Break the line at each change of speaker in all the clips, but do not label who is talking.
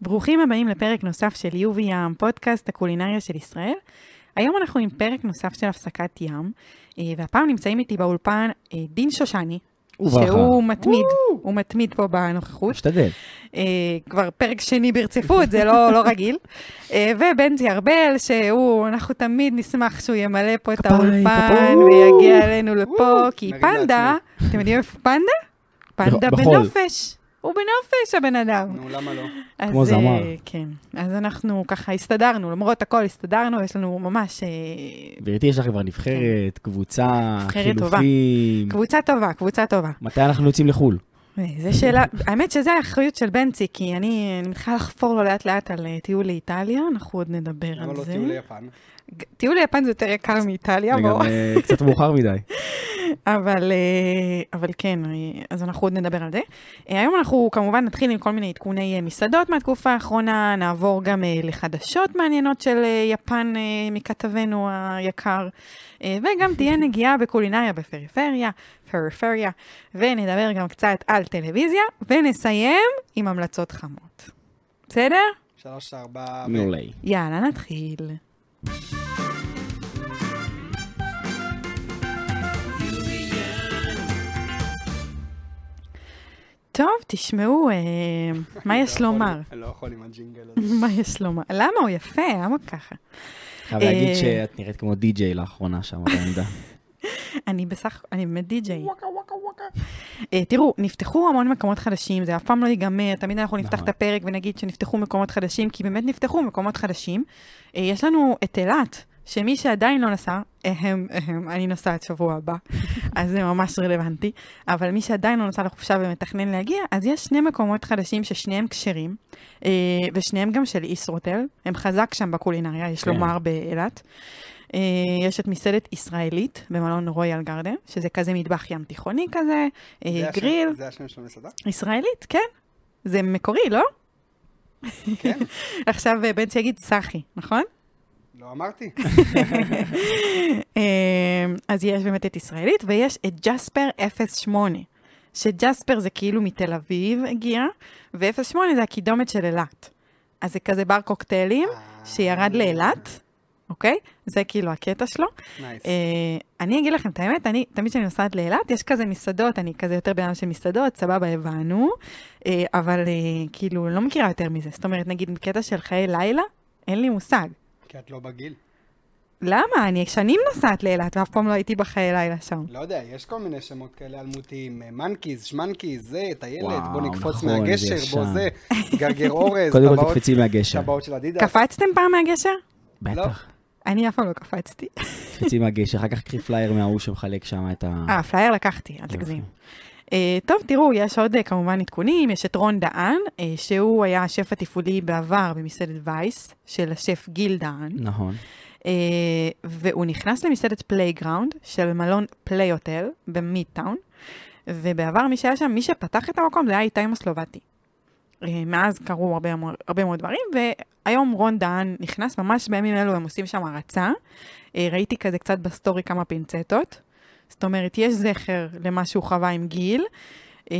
ברוכים הבאים לפרק נוסף של יו וים, פודקאסט הקולינריה של ישראל. היום אנחנו עם פרק נוסף של הפסקת ים, אה, והפעם נמצאים איתי באולפן אה, דין שושני,
וברכה.
שהוא מתמיד, הוא מתמיד פה בנוכחות.
משתדל.
אה, כבר פרק שני ברציפות, זה לא, לא רגיל. אה, ובנזי ארבל, שהוא, אנחנו תמיד נשמח שהוא ימלא פה את
כפיים,
האולפן
כפיים.
ויגיע אלינו לפה, כי
נרים
פנדה, אתם יודעים איפה פנדה? פנדה
בחול.
בנופש. הוא בנופש הבן אדם.
נו, למה לא?
אז,
כמו זמר.
אה, כן. אז אנחנו ככה הסתדרנו, למרות הכל הסתדרנו, יש לנו ממש אה,
גברתי, יש לך כבר נבחרת, קבוצה,
כן. נבחרת טובה.
חילופים.
קבוצה טובה, קבוצה טובה.
מתי אנחנו יוצאים לחו"ל?
אה,
Mm.
זה שאלה, האמת שזה האחריות של בנצי, כי אני אני מתחילה לחפור לו לאט לאט על אה, טיול לאיטליה, אנחנו עוד נדבר
למה
על
לא
זה.
טיול ליפן?
ג- טיול ליפן זה יותר יקר מאיטליה,
זה
בואו.
גם אה, קצת מאוחר מדי.
אבל, אה, אבל כן, אה, אז אנחנו עוד נדבר על זה. אה, היום אנחנו כמובן נתחיל עם כל מיני עדכוני אה, מסעדות מהתקופה האחרונה, נעבור גם אה, לחדשות מעניינות של אה, יפן אה, מכתבנו היקר, אה, וגם תהיה נגיעה בקולינריה בפריפריה, פריפריה, ונדבר גם קצת על טלוויזיה, ונסיים עם המלצות חמות. בסדר?
שלוש, ארבע... ו-
מעולה.
יאללה, נתחיל. טוב, תשמעו, אה, מה
אני
יש
לא
לומר?
יכול- אני לא יכול עם הג'ינגל הזה.
מה יש לומר? למה הוא יפה? למה ככה?
חייב
אה,
להגיד שאת נראית כמו די-ג'יי לאחרונה שם בעמדה.
אני בסך, אני באמת די-ג'יי. אה, תראו, נפתחו המון מקומות חדשים, זה אף פעם לא ייגמר, תמיד אנחנו נפתח
נכון.
את הפרק ונגיד שנפתחו מקומות חדשים, כי באמת נפתחו מקומות חדשים. אה, יש לנו את אילת, שמי שעדיין לא נסע, אהם, אהם, אני נוסעת שבוע הבא, אז זה ממש רלוונטי, אבל מי שעדיין לא נסע לחופשה ומתכנן להגיע, אז יש שני מקומות חדשים ששניהם כשרים, אה, ושניהם גם של ישרוטל, הם חזק שם בקולינריה, יש
כן.
לומר באילת. אה, יש את מסעדת ישראלית במלון רויאל גרדן, שזה כזה מטבח ים תיכוני כזה, אה,
זה השם-
גריל.
זה השם של המסעדה?
ישראלית, כן. זה מקורי, לא?
כן,
עכשיו אה, בנצי יגיד סחי, נכון?
לא אמרתי.
כן, אה, אז יש באמת את ישראלית, ויש את ג'ספר 08, שג'ספר זה כאילו מתל אביב הגיע, ו-08 זה הקידומת של אילת. אז זה כזה בר קוקטיילים
אה,
שירד לאילת, אוקיי? זה כאילו הקטע שלו.
נייס.
אה, אני אגיד לכם את האמת, אני, תמיד כשאני נוסעת לאילת, יש כזה מסעדות, אני כזה יותר בן אדם של מסעדות, סבבה, הבנו, אה, אבל אה, כאילו, לא מכירה יותר מזה. זאת אומרת, נגיד, בקטע של חיי לילה, אין לי מושג.
כי את לא בגיל.
למה? אני שנים נוסעת לאילת, ואף פעם לא הייתי בחיי לילה שם.
לא יודע, יש כל מיני שמות כאלה אלמותיים. אה, מנקיז, שמנקיז, זה, טיילת,
וואו,
בוא נקפוץ
נכון,
מהגשר,
זה
בוא
ישן.
זה, גרגר אורז,
קודם כל
טבעות-
תקפצי מהגשר.
טבעות של אדידס.
קפצתם פעם מהגשר?
בטח.
אני אף פעם לא קפצתי.
תקפצי מהגשר, אחר כך קחי פלייר מההוא שמחלק שם את ה...
אה, פלייר לקחתי, אל
יופי.
תגזים. אה, טוב, תראו, יש עוד אה, כמובן עדכונים, יש את רון דהן, אה, שהוא היה השף התפעולי בעבר במסעדת וייס, של השף גיל דהן.
נכון.
אה, והוא נכנס למסעדת פלייגראונד של מלון פליי הוטל במידטאון, ובעבר מי שהיה שם, מי שפתח את המקום זה היה איתי מוסלובטי. אה, מאז קרו הרבה, מאוד- הרבה מאוד דברים, והיום רון דהן נכנס, ממש בימים אלו הם עושים שם הרצה. אה, ראיתי כזה קצת בסטורי כמה פינצטות. זאת אומרת, יש זכר למה שהוא חווה עם גיל. אה,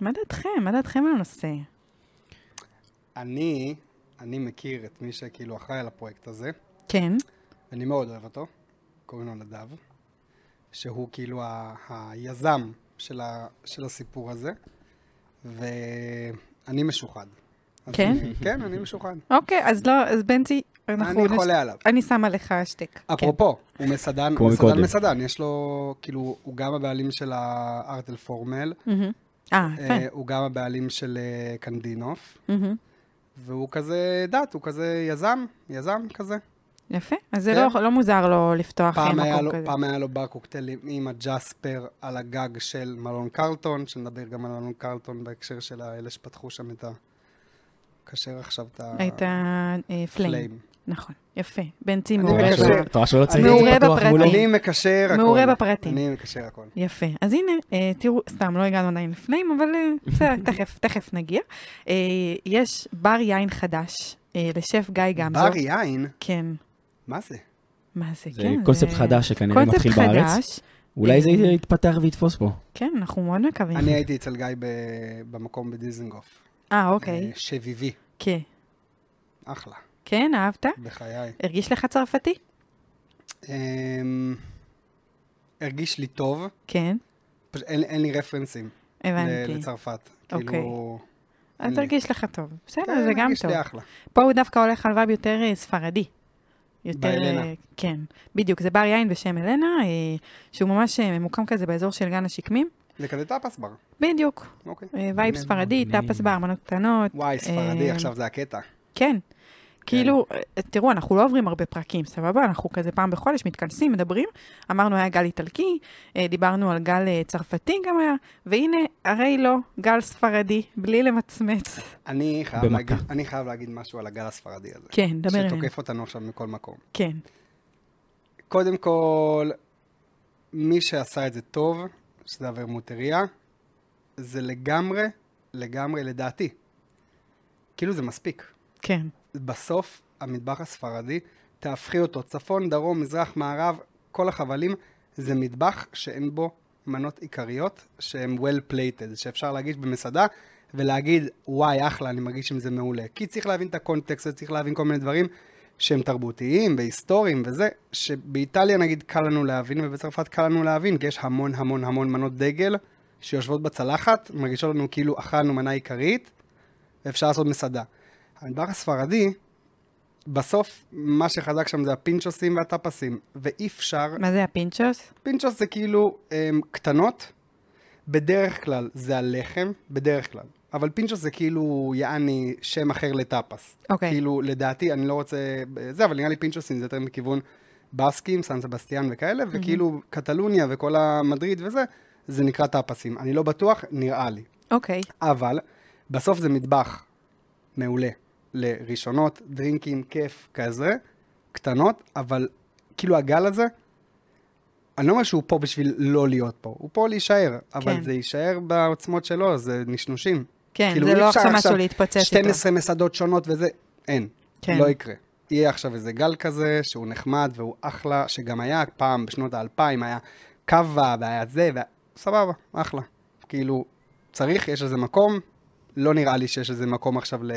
מה דעתכם? מה דעתכם על הנושא?
אני, אני מכיר את מי שכאילו אחראי על הפרויקט הזה.
כן.
אני מאוד אוהב אותו, קוראים לו נדב, שהוא כאילו ה- היזם של, ה- של הסיפור הזה, ואני משוחד. אז
כן?
אני- כן, אני משוחד.
אוקיי, אז לא, אז בנצי, אנחנו...
אני
נש-
חולה עליו.
נכון, אני שמה לך שטק.
אפרופו, הוא מסעדן,
כמו
מסעדן
מקודם.
מסעדן, יש לו, כאילו, הוא גם הבעלים של הארטל פורמל,
מהמם. אה,
אה,
יפה.
הוא גם הבעלים של אה, קנדינוף,
מהמם.
והוא כזה דת, הוא כזה יזם, יזם כזה.
יפה. אז זה
כן.
לא- לא מוזר לו לפתוח אה,
פעם היה,
מקום
לו,
כזה.
פעם היה לו בר קוקטיילים עם הג'ספר על הגג של מלון קרלטון, שנדבר גם על מלון קרלטון בהקשר של האלה שפתחו שם את ה... כשר עכשיו את ה...
את הפליים. אה, נכון. יפה. בנצי
אני
מעורה
מקשר.
ב-
אתה רואה שהוא לא צריך
אני-
את
מעורה
זה פתוח
בפרטים.
מולו.
אני מקשר הכל.
מעורה בפרטים.
אני מקשר הכל.
יפה. אז הנה, אה, תראו, סתם, לא הגענו עדיין לפליים, אבל אה, בסדר, תכף, תכף נגיע. אה, יש בר יין חדש אה, לשף גיא גמזו.
בר יין?
כן.
מה זה?
מה זה,
זה
כן.
קונספט חדש שכנראה
קונספט
מתחיל בארץ.
חדש.
אולי זה יתפתח ויתפוס פה.
כן, אנחנו מאוד מקווים.
אני הייתי אצל גיא ב... במקום בדיזנגוף.
אה, אוקיי.
אה, שביבי,
כן.
אחלה,
כן, אהבת?
בחיי.
הרגיש לך צרפתי?
אמ, הרגיש לי טוב,
כן,
פשוט אין אין לי רפרנסים ל-
הבנתי.
לצרפת.
אוקיי.
כאילו... אין
אז
לי.
הרגיש לך טוב.
כן,
בסדר, זה גם
הרגיש
טוב.
לי אחלה.
פה הוא דווקא הולך על ואב יותר אה, ספרדי. יותר...
באלנה.
אה, כן, בדיוק. זה בר יין בשם אלנה, אה, שהוא ממש אה, ממוקם כזה באזור של גן השקמים.
זה כזה טאפס בר,
בדיוק.
אוקיי.
אה, וייב
מגניב,
ספרדי,
מגניב.
טאפס בארמנות קטנות.
וואי, ספרדי,
אה,
עכשיו זה הקטע.
כן. כאילו, אה, תראו, אנחנו לא עוברים הרבה פרקים, סבבה? אנחנו כזה פעם בחודש מתכנסים, מדברים. אמרנו, היה גל איטלקי, אה, דיברנו על גל אה, צרפתי גם היה, והנה, הרי לא, גל ספרדי, בלי למצמץ.
אני חייב
במכה.
להגיד- אני חייב להגיד משהו על הגל הספרדי הזה.
כן, דבר אלינו.
שתוקף אותנו עכשיו מכל מקום.
כן,
קודם כל, מי שעשה את זה טוב, שזה הוורמוטריה, זה לגמרי, לגמרי לדעתי. כאילו זה מספיק.
כן,
בסוף, המטבח הספרדי, תהפכי אותו צפון, דרום, מזרח, מערב, כל החבלים, זה מטבח שאין בו מנות עיקריות שהן well plated, שאפשר להגיש במסעדה ולהגיד, וואי, אחלה, אני מרגיש עם זה מעולה. כי צריך להבין את הקונטקסט וצריך להבין כל מיני דברים שהם תרבותיים והיסטוריים וזה, שבאיטליה נגיד קל לנו להבין ובצרפת קל לנו להבין, כי יש המון המון המון מנות דגל שיושבות בצלחת, מרגישות לנו כאילו אכלנו מנה עיקרית, ואפשר לעשות מסעדה. המדבר הספרדי, בסוף מה שחזק שם זה הפינצ'וסים והטפסים, ואי אפשר,
מה זה הפינצ'וס?
פינצ'וס זה כאילו הם, קטנות, בדרך כלל זה הלחם, בדרך כלל, אבל פינצ'וס זה כאילו יעני שם אחר לטאפס.
אוקיי,
כאילו, לדעתי, אני לא רוצה... זה, אבל נראה לי פינצ'וסים זה יותר מכיוון בסקים, סן סבסטיאן וכאלה, וכאילו קטלוניה וכל המדריד וזה, זה נקרא טאפסים. אני לא בטוח, נראה לי.
אוקיי,
אבל בסוף זה מטבח מעולה לראשונות, דרינקים, כיף, כזה, קטנות, אבל כאילו הגל הזה, אני לא אומר שהוא פה בשביל לא להיות פה, הוא פה להישאר, אבל
כן.
זה יישאר בעוצמות שלו, זה נשנושים.
כן,
כאילו,
זה
אי
לא
אפשר
עכשיו
עכשיו
משהו להתפוצץ איתו.
12 מסעדות שונות וזה, אין,
כן.
לא יקרה. יהיה עכשיו איזה גל כזה, שהוא נחמד והוא אחלה, שגם היה פעם בשנות האלפיים, היה קווה והיה זה, וה... סבבה, אחלה. כאילו, צריך, יש איזה מקום, לא נראה לי שיש איזה מקום עכשיו ל...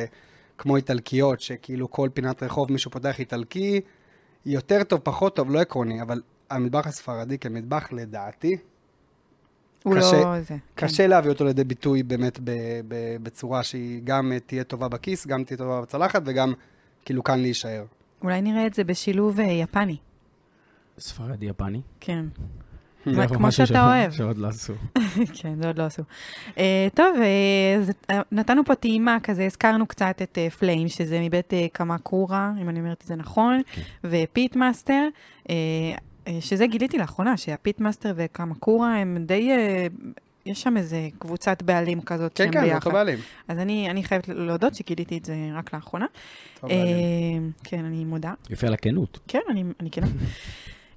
כמו איטלקיות, שכאילו כל פינת רחוב מישהו פותח איטלקי, יותר טוב, פחות טוב, לא עקרוני, אבל המטבח הספרדי כמטבח, לדעתי,
הוא לא
קשה-
זה. כן.
קשה להביא אותו לידי ביטוי באמת ב, ב, בצורה שהיא גם אה, תהיה טובה בכיס, גם תהיה טובה בצלחת וגם כאילו כאן להישאר.
אולי נראה את זה בשילוב אה, יפני.
ספרדי יפני.
כן.
זה
Hmm.
מה-
אבל
כמו
משהו
שאתה
שעוד-
אוהב.
שעוד לא עשו.
כן, זה עוד לא עשו. אה, טוב, אה, זה- אה, נתנו פה טעימה כזה, הזכרנו קצת את אה, פליים, שזה מבית אה, קמקורה, אם אני אומרת את זה נכון, ופיט מאסטר, אה, אה, שזה גיליתי לאחרונה, שהפיט מאסטר וקמקורה הם די... אה, יש שם איזה קבוצת בעלים כזאת
כן,
שהם
כן, זה
ביחד.
אותו בעלים.
אז אני, אני חייבת להודות שגיליתי את זה רק לאחרונה.
אותו בעלים.
אה, כן, אני מודה.
יפה על הכנות.
כן, אני, אני כנה.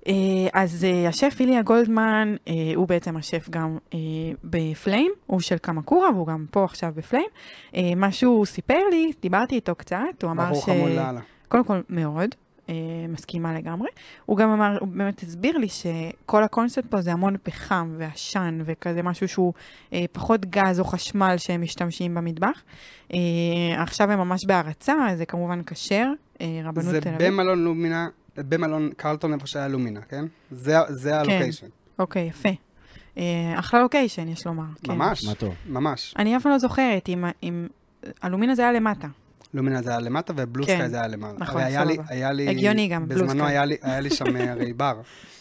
אה, אז אה, השף איליה גולדמן, אה, הוא בעצם השף גם אה, בפליים, הוא של קמקורה, והוא גם פה עכשיו בפליים. אה, מה שהוא סיפר לי, דיברתי איתו קצת, הוא אמר
בחור
ש...
חמוד לאללה.
קודם כל, מאוד, אה, מסכימה לגמרי. הוא גם אמר, הוא באמת הסביר לי שכל הקונספט פה זה המון פחם ועשן וכזה משהו שהוא אה, פחות גז או חשמל שהם משתמשים במטבח. אה, עכשיו הם ממש בהרצה, זה כמובן כשר, אה, רבנות
זה
תל אביב.
במלון לומינה, במלון קרלטון איפה שהיה לומינה, כן? זה, ה- זה הלוקיישן.
אוקיי, יפה. אה, אחלה לוקיישן, יש לומר. כן.
ממש,
מה טוב.
ממש.
אני אף פעם לא זוכרת אם... אם... אלומינה זה היה למטה.
לומינה זה היה למטה ובלוסקאי
כן.
זה היה למעלה.
נכון,
הרי היה לי-
סבבה.
היה לי...
הגיוני גם,
בזמנו
בלוסקאי.
היה לי- היה לי שם אה, הרי בר,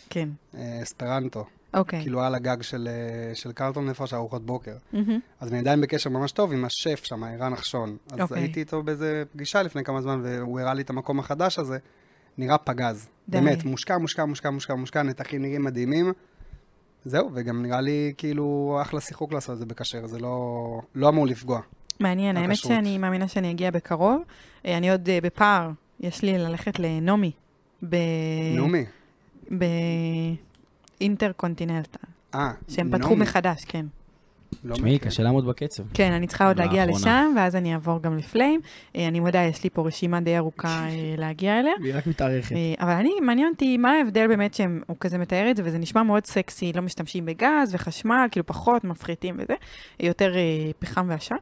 כן.
אה, אספרנטו,
אוקיי.
כאילו על הגג של, אה, של קרלטון איפה שהארוחות בוקר.
מהמם.
אז אני עדיין בקשר ממש טוב עם השף שם, ערן נחשון. אז
אוקיי.
הייתי איתו באיזה פגישה לפני כמה זמן, והוא הראה לי את המקום החדש הזה. נראה פגז.
די.
באמת, מושקע, מושקע, מושקע, מושקע, מושקע, נתחים נראים מדהימים. זהו, וגם נראה לי כאילו אחלה שיחוק לעשות את זה בכשר, זה לא, לא אמור לפגוע.
מעניין, האמת
הכשרות.
שאני מאמינה שאני אגיע בקרוב. אה, אני עוד אה, בפער, יש לי ללכת לנעמי. ב... אה,
נעמי.
באינטרקונטינלטה,
אה,
שהם פתחו
נעמי.
מחדש, כן.
לא
תשמעי,
מכיר.
קשה לעמוד בקצב.
כן, אני צריכה עוד להגיע
לאחרונה.
לשם, ואז אני אעבור גם לפליים. אה, אני מודה, יש לי פה רשימה די ארוכה אה, להגיע אליה.
היא רק מתארכת.
כן.
אה, אבל אני, מעניין אותי מה ההבדל באמת שהוא כזה מתאר את זה, וזה נשמע מאוד סקסי, לא משתמשים בגז וחשמל, כאילו פחות, מפחיתים וזה, יותר אה, פחם ועשן.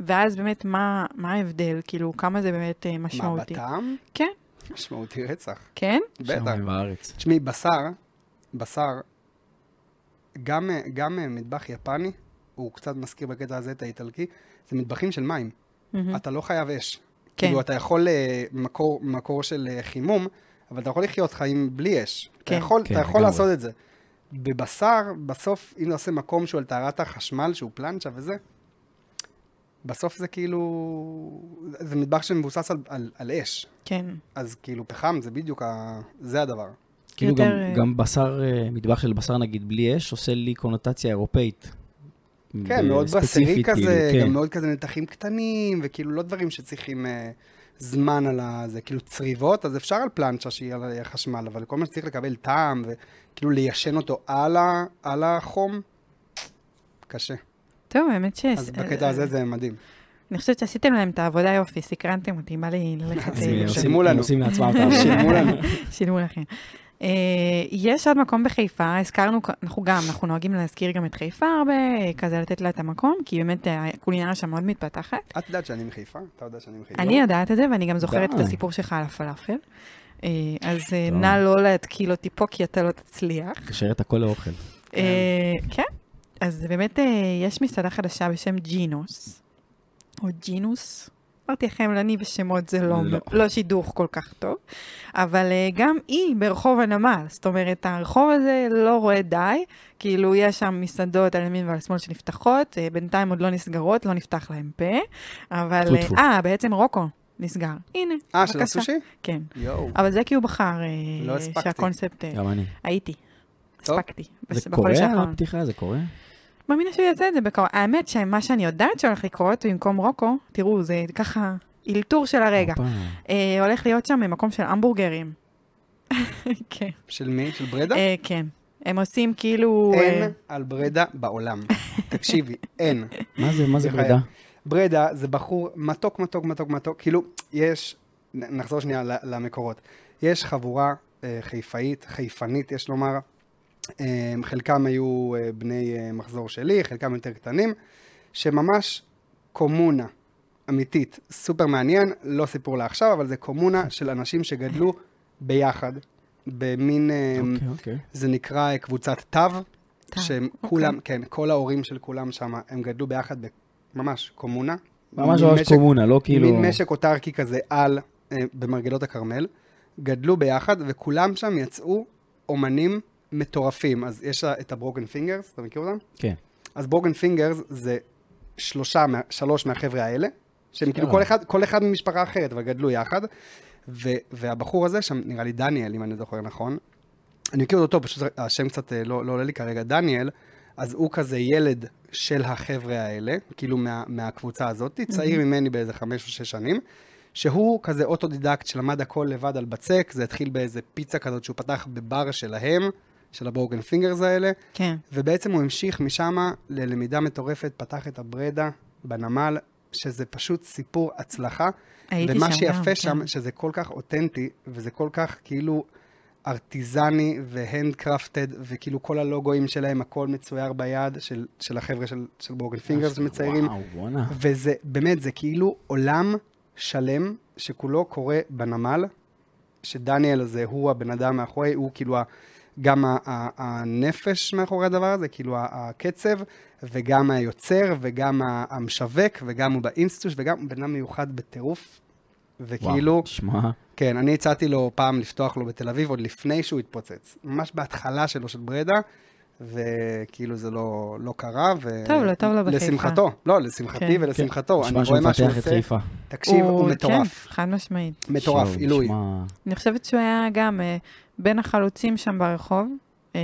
ואז באמת, מה, מה ההבדל? כאילו, כמה זה באמת אה,
מה,
משמעותי?
בטעם?
כן.
משמעותי רצח.
כן?
בטח.
שם בארץ.
תשמעי, בשר, בשר, גם, אה, גם אה, מטבח יפני, הוא קצת מזכיר בקטע הזה את האיטלקי, זה מטבחים של מים.
מהמם.
אתה לא חייב אש.
Mm-hmm. כן.
כאילו, אתה יכול אה, מקור, מקור של אה, חימום, אבל אתה יכול לחיות חיים בלי אש. אתה
כן.
יכול,
כן,
אתה יכול
לגמרי.
לעשות את זה. בבשר, בסוף, אם אתה עושה מקום שהוא על טהרת החשמל, שהוא פלנצ'ה וזה, בסוף זה כאילו... זה מטבח שמבוסס על, על, על אש.
כן.
אז כאילו, פחם זה בדיוק ה... זה הדבר.
כאילו גם-
יותר, אה,
גם בשר, אה, מטבח של בשר נגיד בלי אש, עושה לי קונוטציה אירופאית.
כן, מאוד בסרי
ספציפית,
כזה,
כאילו,
גם
כן.
מאוד כזה נתחים קטנים, וכאילו לא דברים שצריכים אה, זמן על ה... זה כאילו צריבות, אז אפשר על פלנצ'ה שהיא על החשמל, אבל כל מה שצריך לקבל טעם, וכאילו ליישן אותו על, ה, על החום, קשה.
כן. טוב, האמת ש...
אז בקטע הזה זה מדהים.
אני חושבת שעשיתם להם את העבודה יופי, סקרנתם אותי, בא לי ללכת...
אז
אה,
הם
שילמו
עושים-
לנו.
הם עושים לעצמם את העבודה.
שילמו לנו.
שילמו לכם. אה, יש עוד מקום בחיפה, הזכרנו, אנחנו גם, אנחנו נוהגים להזכיר גם את חיפה הרבה, אה, כזה לתת לה את המקום, כי באמת אה, הקולינריה שם מאוד מתפתחת.
את יודעת שאני מחיפה? אתה יודע שאני מחיפה?
אני יודעת את זה, ואני גם זוכרת את
די.
הסיפור שלך על הפלאפל. אה, אז אה,
טוב.
נא לא להתקיל אותי פה, כי אתה לא תצליח.
קשר את הכל לאוכל.
אה, כן, אז באמת אה, יש מסעדה חדשה בשם ג'ינוס, או ג'ינוס. אמרתי לכם, אני בשמות זה לא,
לא.
לא שידוך כל כך טוב, אבל אה, גם היא ברחוב הנמל, זאת אומרת, הרחוב הזה לא רואה די, כאילו יש שם מסעדות על ימין ועל שמאל שנפתחות, אה, בינתיים עוד לא נסגרות, לא נפתח להם פה, אבל...
טפו,
אה,
טפו.
אה, בעצם רוקו נסגר. הנה,
אה, של
בבקשה.
הסושי?
כן,
יואו.
אבל זה כי הוא בחר, אה,
לא הספקתי.
שהקונספט... אה,
גם אני.
הייתי,
טוב.
הספקתי, בחודש
זה קורה
האחרון.
הפתיחה? זה קורה?
מאמינה שהוא יעשה את זה בקרוב. האמת שמה שאני יודעת שהולך לקרות במקום רוקו, תראו, זה ככה אלתור של הרגע.
הופה.
אה, הולך להיות שם מקום של המבורגרים. כן.
של מי? של ברדה?
אה, כן. הם עושים כאילו... אה,
אין על ברדה בעולם. תקשיבי, אין.
מה זה, מה זה
בחייך.
פרידה?
ברדה זה בחור מתוק, מתוק, מתוק, מתוק, כאילו, יש, נ- נחזור שנייה ל- למקורות. יש חבורה אה, חיפאית, חיפנית, יש לומר, אה, חלקם היו אה, בני אה, מחזור שלי, חלקם יותר קטנים, שממש קומונה אמיתית, סופר מעניין, לא סיפור לעכשיו, אבל זה קומונה של אנשים שגדלו ביחד, במין... אה,
אוקיי, אוקיי.
זה נקרא אה, קבוצת תו,
תו,
שהם כולם, כן, כל ההורים של כולם שם, הם גדלו ביחד בממש קומונה.
ממש
מין
ממש
משק-
קומונה, לא כאילו...
מין משק אוטרקי כזה על, אה, במרגלות הכרמל. גדלו ביחד, וכולם שם יצאו אומנים מטורפים. אז יש לה את הברוקן פינגרס, אתה מכיר אותם?
כן.
אז ברוקן פינגרס זה שלושה, מה- שלוש מהחבר'ה האלה, שהם כאילו
שלום.
כל אחד, כל אחד ממשפחה אחרת, אבל גדלו יחד. ו, והבחור הזה, שם נראה לי דניאל, אם אני זוכר נכון, אני מכיר אותו, פשוט השם קצת אה, לא, לא עולה לי כרגע, דניאל, אז הוא כזה ילד של החבר'ה האלה, כאילו מה, מהקבוצה הזאת, צעיר ממני באיזה חמש או שש שנים, שהוא כזה אוטודידקט שלמד הכל לבד על בצק, זה התחיל באיזה פיצה כזאת שהוא פתח בבר שלהם, של הברוקן פינגרס האלה,
כן.
ובעצם הוא המשיך משם ללמידה מטורפת, פתח את הברדה בנמל, שזה פשוט סיפור הצלחה.
הייתי
ומה
שם
שיפה
גם,
שם,
כן.
שזה כל כך אותנטי, וזה כל כך כאילו ארטיזני והנדקרפטד, וכאילו כל הלוגוים שלהם, הכל מצויר ביד של, של החבר'ה של, של בורגן פינגרס שמציירים.
וואו, בואנה.
וזה, באמת, זה כאילו עולם שלם שכולו קורה בנמל, שדניאל הזה הוא הבן אדם מאחורי, הוא כאילו ה- גם ה- ה- הנפש מאחורי הדבר הזה, כאילו ה- הקצב, וגם היוצר, וגם ה- המשווק, וגם הוא באינסטוש, וגם הוא בן אדם מיוחד בטירוף. וכאילו,
וואו,
וואו.
שמע,
כן, אני הצעתי לו פעם לפתוח לו בתל אביב, עוד לפני שהוא התפוצץ. ממש בהתחלה שלו, של ברדה, וכאילו זה לא, לא קרה, ו...
טוב לו, טוב לו בחיפה.
לשמחתו, לא, לשמחתי
כן.
ולשמחתו.
נשמע
אני
שהוא
רואה מה שהוא
מפתח את
עושה,
חיפה.
תקשיב, הוא מטורף.
כן, חד משמעית.
מטורף,
שהוא
עילוי.
נשמע-
אני חושבת שהוא היה גם אה, בין החלוצים שם ברחוב. אה,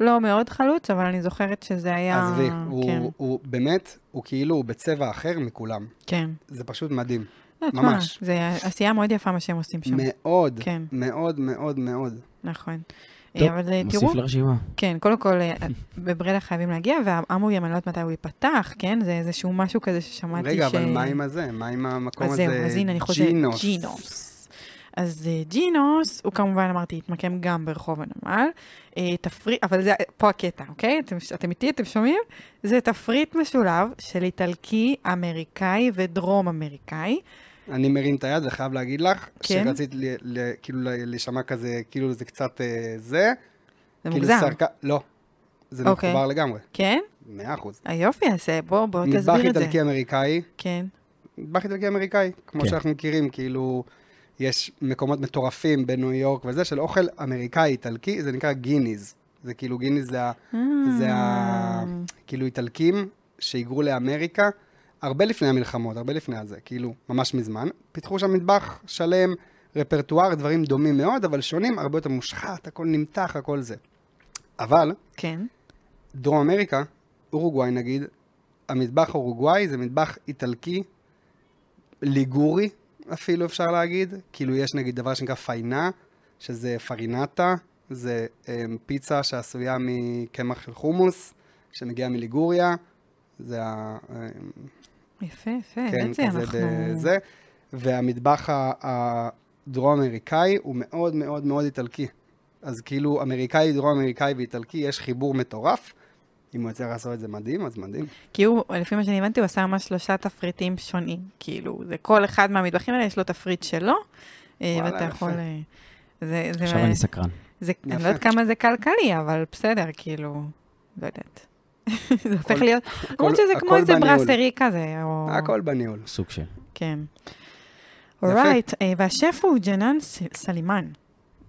לא מאוד חלוץ, אבל אני זוכרת שזה היה...
עזבי,
כן,
הוא- הוא באמת, הוא כאילו, הוא בצבע אחר מכולם.
כן.
זה פשוט מדהים.
לא, תשמע,
ממש.
זה עשייה מאוד יפה מה שהם עושים שם.
מאוד,
כן.
מאוד, מאוד, מאוד.
נכון. אה,
טוב,
אבל אה, תראו,
מוסיף לרשימה.
כן, קודם כל, אה, בברלה חייבים להגיע, וההמבורגר, אני לא יודעת מתי הוא ייפתח, כן? זה איזשהו משהו כזה ששמעתי ש...
רגע, אבל מה עם הזה? מה עם המקום
אז
הזה?
זהו, אז הנה, אני חוזרת.
ג'ינוס.
ג'ינוס. אז אה, ג'ינוס, הוא כמובן, אמרתי, התמקם גם ברחוב הנמל. אה, תפריט, אבל זה, פה הקטע, אוקיי? אתם, אתם איתי, אתם שומעים? זה תפריט משולב של איטלקי, אמריקאי ודרום אמריקאי.
אני מרים את היד וחייב להגיד לך,
כן?
שרצית ל- ל- כאילו ל- להישמע כזה, כאילו זה קצת אה, זה.
זה
כאילו
מוגזם,
סרק- לא, זה
אוקיי.
מחובר לגמרי,
כן?
מאה אחוז.
היופי, אז אה, בוא, בוא תסביר את זה.
מטבח איטלקי אמריקאי,
כן.
מטבח איטלקי אמריקאי, כמו
כן.
שאנחנו מכירים, כאילו, יש מקומות מטורפים בניו יורק וזה, של אוכל אמריקאי איטלקי, זה נקרא גיניז. זה כאילו גיניז זה ה... זה ה...
אה,
כאילו איטלקים שהיגרו לאמריקה הרבה לפני המלחמות, הרבה לפני הזה, כאילו, ממש מזמן. פיתחו שם מטבח שלם, רפרטואר, דברים דומים מאוד, אבל שונים, הרבה יותר מושחת, הכל נמתח, הכל זה. אבל,
כן.
דרום אמריקה, אורוגוואי נגיד, המטבח אורוגוואי זה מטבח איטלקי, ליגורי אפילו אפשר להגיד, כאילו יש נגיד דבר שנקרא פיינה, שזה פרינטה, זה אמ, פיצה שעשויה מקמח של חומוס, שמגיעה מליגוריה, זה ה... אמ,
יפה, יפה.
כן,
באמת זה
כזה
אנחנו...
בזה. והמטבח ה- הדרום-אמריקאי הוא מאוד מאוד מאוד איטלקי. אז כאילו, אמריקאי, דרום-אמריקאי ואיטלקי, יש חיבור מטורף. אם הוא יצליח לעשות את זה מדהים, אז מדהים.
כי הוא, לפי מה שאני הבנתי, הוא עשה ממש שלושה תפריטים שונים. כאילו, זה כל אחד מהמטבחים האלה, יש לו תפריט שלו, אה,
וואלה,
ואתה
יפה.
יכול... אה, זה, זה,
עכשיו אני סקרן.
זה, אני לא
יפה.
יודעת כמה זה כלכלי, אבל בסדר, כאילו, לא יודעת. זה הופך
הכל-
להיות,
הכל-
למרות שזה
הכל
כמו איזה
בניהול.
ברסרי כזה, או...
הכל בניהול.
סוג של.
כן.
יפה.
אורייט, והשף הוא ג'נן ס- סלימאן.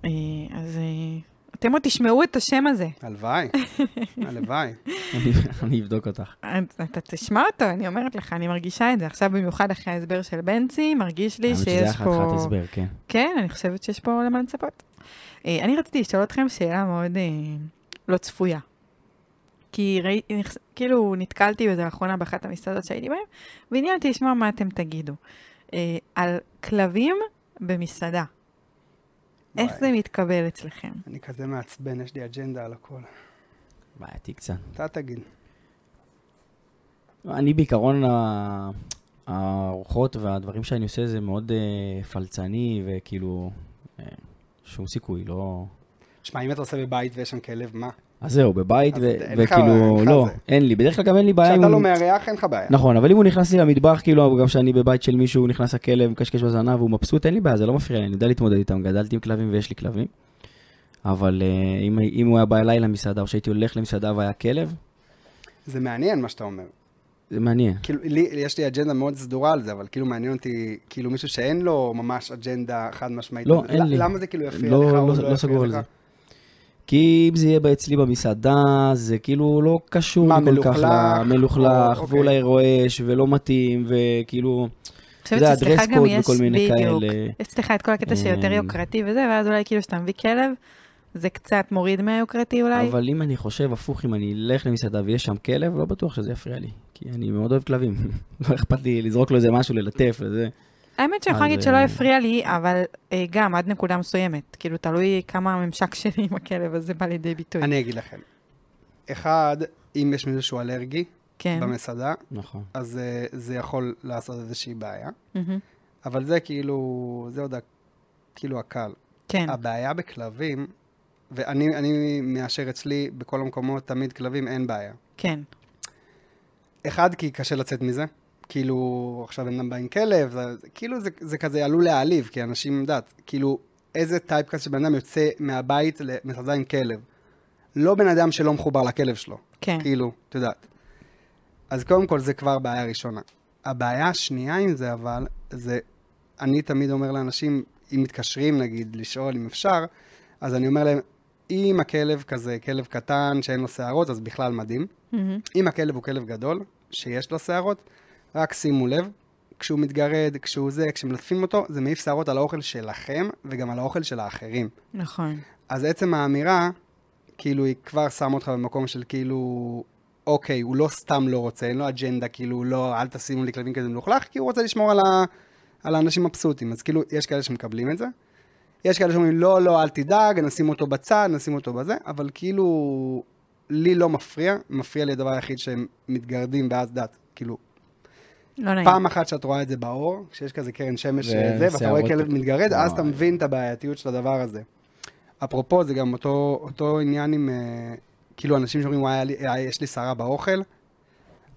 אה, אז אה, אתם עוד תשמעו את השם הזה.
הלוואי, הלוואי.
אני- אני אבדוק אותך.
אתה אה, אתה תשמע אותו, אני אומרת לך, אני מרגישה את זה. עכשיו במיוחד אחרי ההסבר של בנצי, מרגיש לי
האמת שזה היה
שיש
חתיכת
פה...
הסבר, כן.
כן, אני חושבת שיש פה למה לצפות. אה, אני רציתי לשאול אתכם שאלה מאוד אה, לא צפויה. כי ראי, נחס- כאילו נתקלתי בזה לאחרונה באחת המסעדות שהייתי בהן, ועניין אותי לשמוע מה אתם תגידו. אה, על כלבים במסעדה, איך
וואי,
זה מתקבל אצלכם?
אני כזה מעצבן, יש לי אג'נדה על הכל.
בעייתי קצת.
אתה תגיד.
אני בעיקרון, ה- הארוחות והדברים שאני עושה זה מאוד אה, פלצני, וכאילו, אה, שום סיכוי, לא...
שמע, אם אתה עושה בבית ויש שם כלב, מה?
אז זהו, בבית,
אז
ו-
אין לך-
וכאילו,
אין לך
לא,
זה.
אין לי. בדרך כלל גם אין לי בעיה
כשאתה
אם
לא
הוא...
מארח, אין לך בעיה.
נכון, אבל אם הוא נכנס לי למטבח, כאילו, גם כשאני בבית של מישהו, הוא נכנס הכלב, מקשקש בזנב, והוא מבסוט, אין לי בעיה, זה לא מפריע לי, אני יודע להתמודד איתם, גדלתי עם כלבים ויש לי כלבים. אבל אה, אם, אם הוא היה בא אליי למסעדה, או שהייתי הולך למסעדה והיה כלב,
זה מעניין מה שאתה אומר.
זה מעניין.
כאילו, לי, יש לי אג'נדה מאוד סדורה על זה, אבל כאילו מעניין אותי, כאילו מישהו שאין לו ממש אג'נדה חד משמעית.
לא,
אז
אין
ל-
לי.
למה זה כאילו יפריע
לא-
לך
לא-
או
לא
יפריע
סגור על
לך?
זה. כי אם זה יהיה אצלי במסעדה, זה כאילו לא קשור
מה,
לי כל כך
מלוכלך?
למלוכלך,
אוקיי.
ואולי רועש, ולא מתאים, וכאילו,
חושבת
יודע,
שאצלך
dress
גם
code
יש,
וכל מיני
בדיוק.
כאלה.
יש לך את כל הקטע שיותר
אמ,
יוקרתי וזה, ואז אולי כאילו כשאתה מביא כלב, זה קצת מוריד מהיוקרתי אולי.
אבל אם אני חושב הפוך, אם אני אלך למסעדה ויש שם כלב, לא בטוח שזה יפריע לי, כי אני מאוד אוהב כלבים. לא אכפת לי לזרוק לו איזה משהו, ללטף וזה.
האמת שאני יכולה
אז,
להגיד שלא
אה,
הפריע לי, אבל אה, גם עד נקודה מסוימת. כאילו, תלוי כמה הממשק שלי עם הכלב הזה בא לידי ביטוי.
אני אגיד לכם. אחד, אם יש מישהו שהוא אלרגי
כן.
במסעדה,
נכון.
אז אה, זה יכול לעשות איזושהי בעיה.
מהמם.
אבל זה כאילו, זה עוד ה- כאילו הקל.
כן.
הבעיה בכלבים, ואני אני מאשר אצלי בכל המקומות, תמיד כלבים, אין בעיה.
כן.
אחד, כי קשה לצאת מזה. כאילו, עכשיו בן אדם בא עם כלב, זה- כאילו זה, זה כזה עלול להעליב, כי אנשים, יודעת, כאילו, איזה טייפקאסט של בן אדם יוצא מהבית למסעדה עם כלב. לא בן אדם שלא מחובר לכלב שלו,
כן.
כאילו, את יודעת. אז קודם כל, זה כבר בעיה ראשונה. הבעיה השנייה עם זה, אבל, זה, אני תמיד אומר לאנשים, אם מתקשרים, נגיד, לשאול אם אפשר, אז אני אומר להם, אם הכלב כזה, כלב קטן שאין לו שערות, אז בכלל מדהים.
מהמם.
אם הכלב הוא כלב גדול, שיש לו שערות, רק שימו לב, כשהוא מתגרד, כשהוא זה, כשמלטפים אותו, זה מעיף שערות על האוכל שלכם וגם על האוכל של האחרים.
נכון.
אז עצם האמירה, כאילו, היא כבר שמה אותך במקום של כאילו, אוקיי, הוא לא סתם לא רוצה, אין לו אג'נדה, כאילו, לא, אל תשימו לי כלבים כזה מלוכלך, כי הוא רוצה לשמור על, ה, על האנשים מבסוטים. אז כאילו, יש כאלה שמקבלים את זה. יש כאלה שאומרים, לא, לא, אל תדאג, נשים אותו בצד, נשים אותו בזה, אבל כאילו, לי לא מפריע, מפריע לי הדבר היחיד שהם מתגרדים ואז דת, כאילו.
לא נעים.
פעם אחת שאת רואה את זה באור, כשיש כזה קרן שמש אה,
זה
זה, ואתה רואה
שערות.
כלב מתגרד, אז אתה
וואי.
מבין את הבעייתיות של הדבר הזה. אפרופו, זה גם אותו, אותו עניין עם, אה, כאילו, אנשים שאומרים, וואי, היה לי- אה, יש לי שערה באוכל,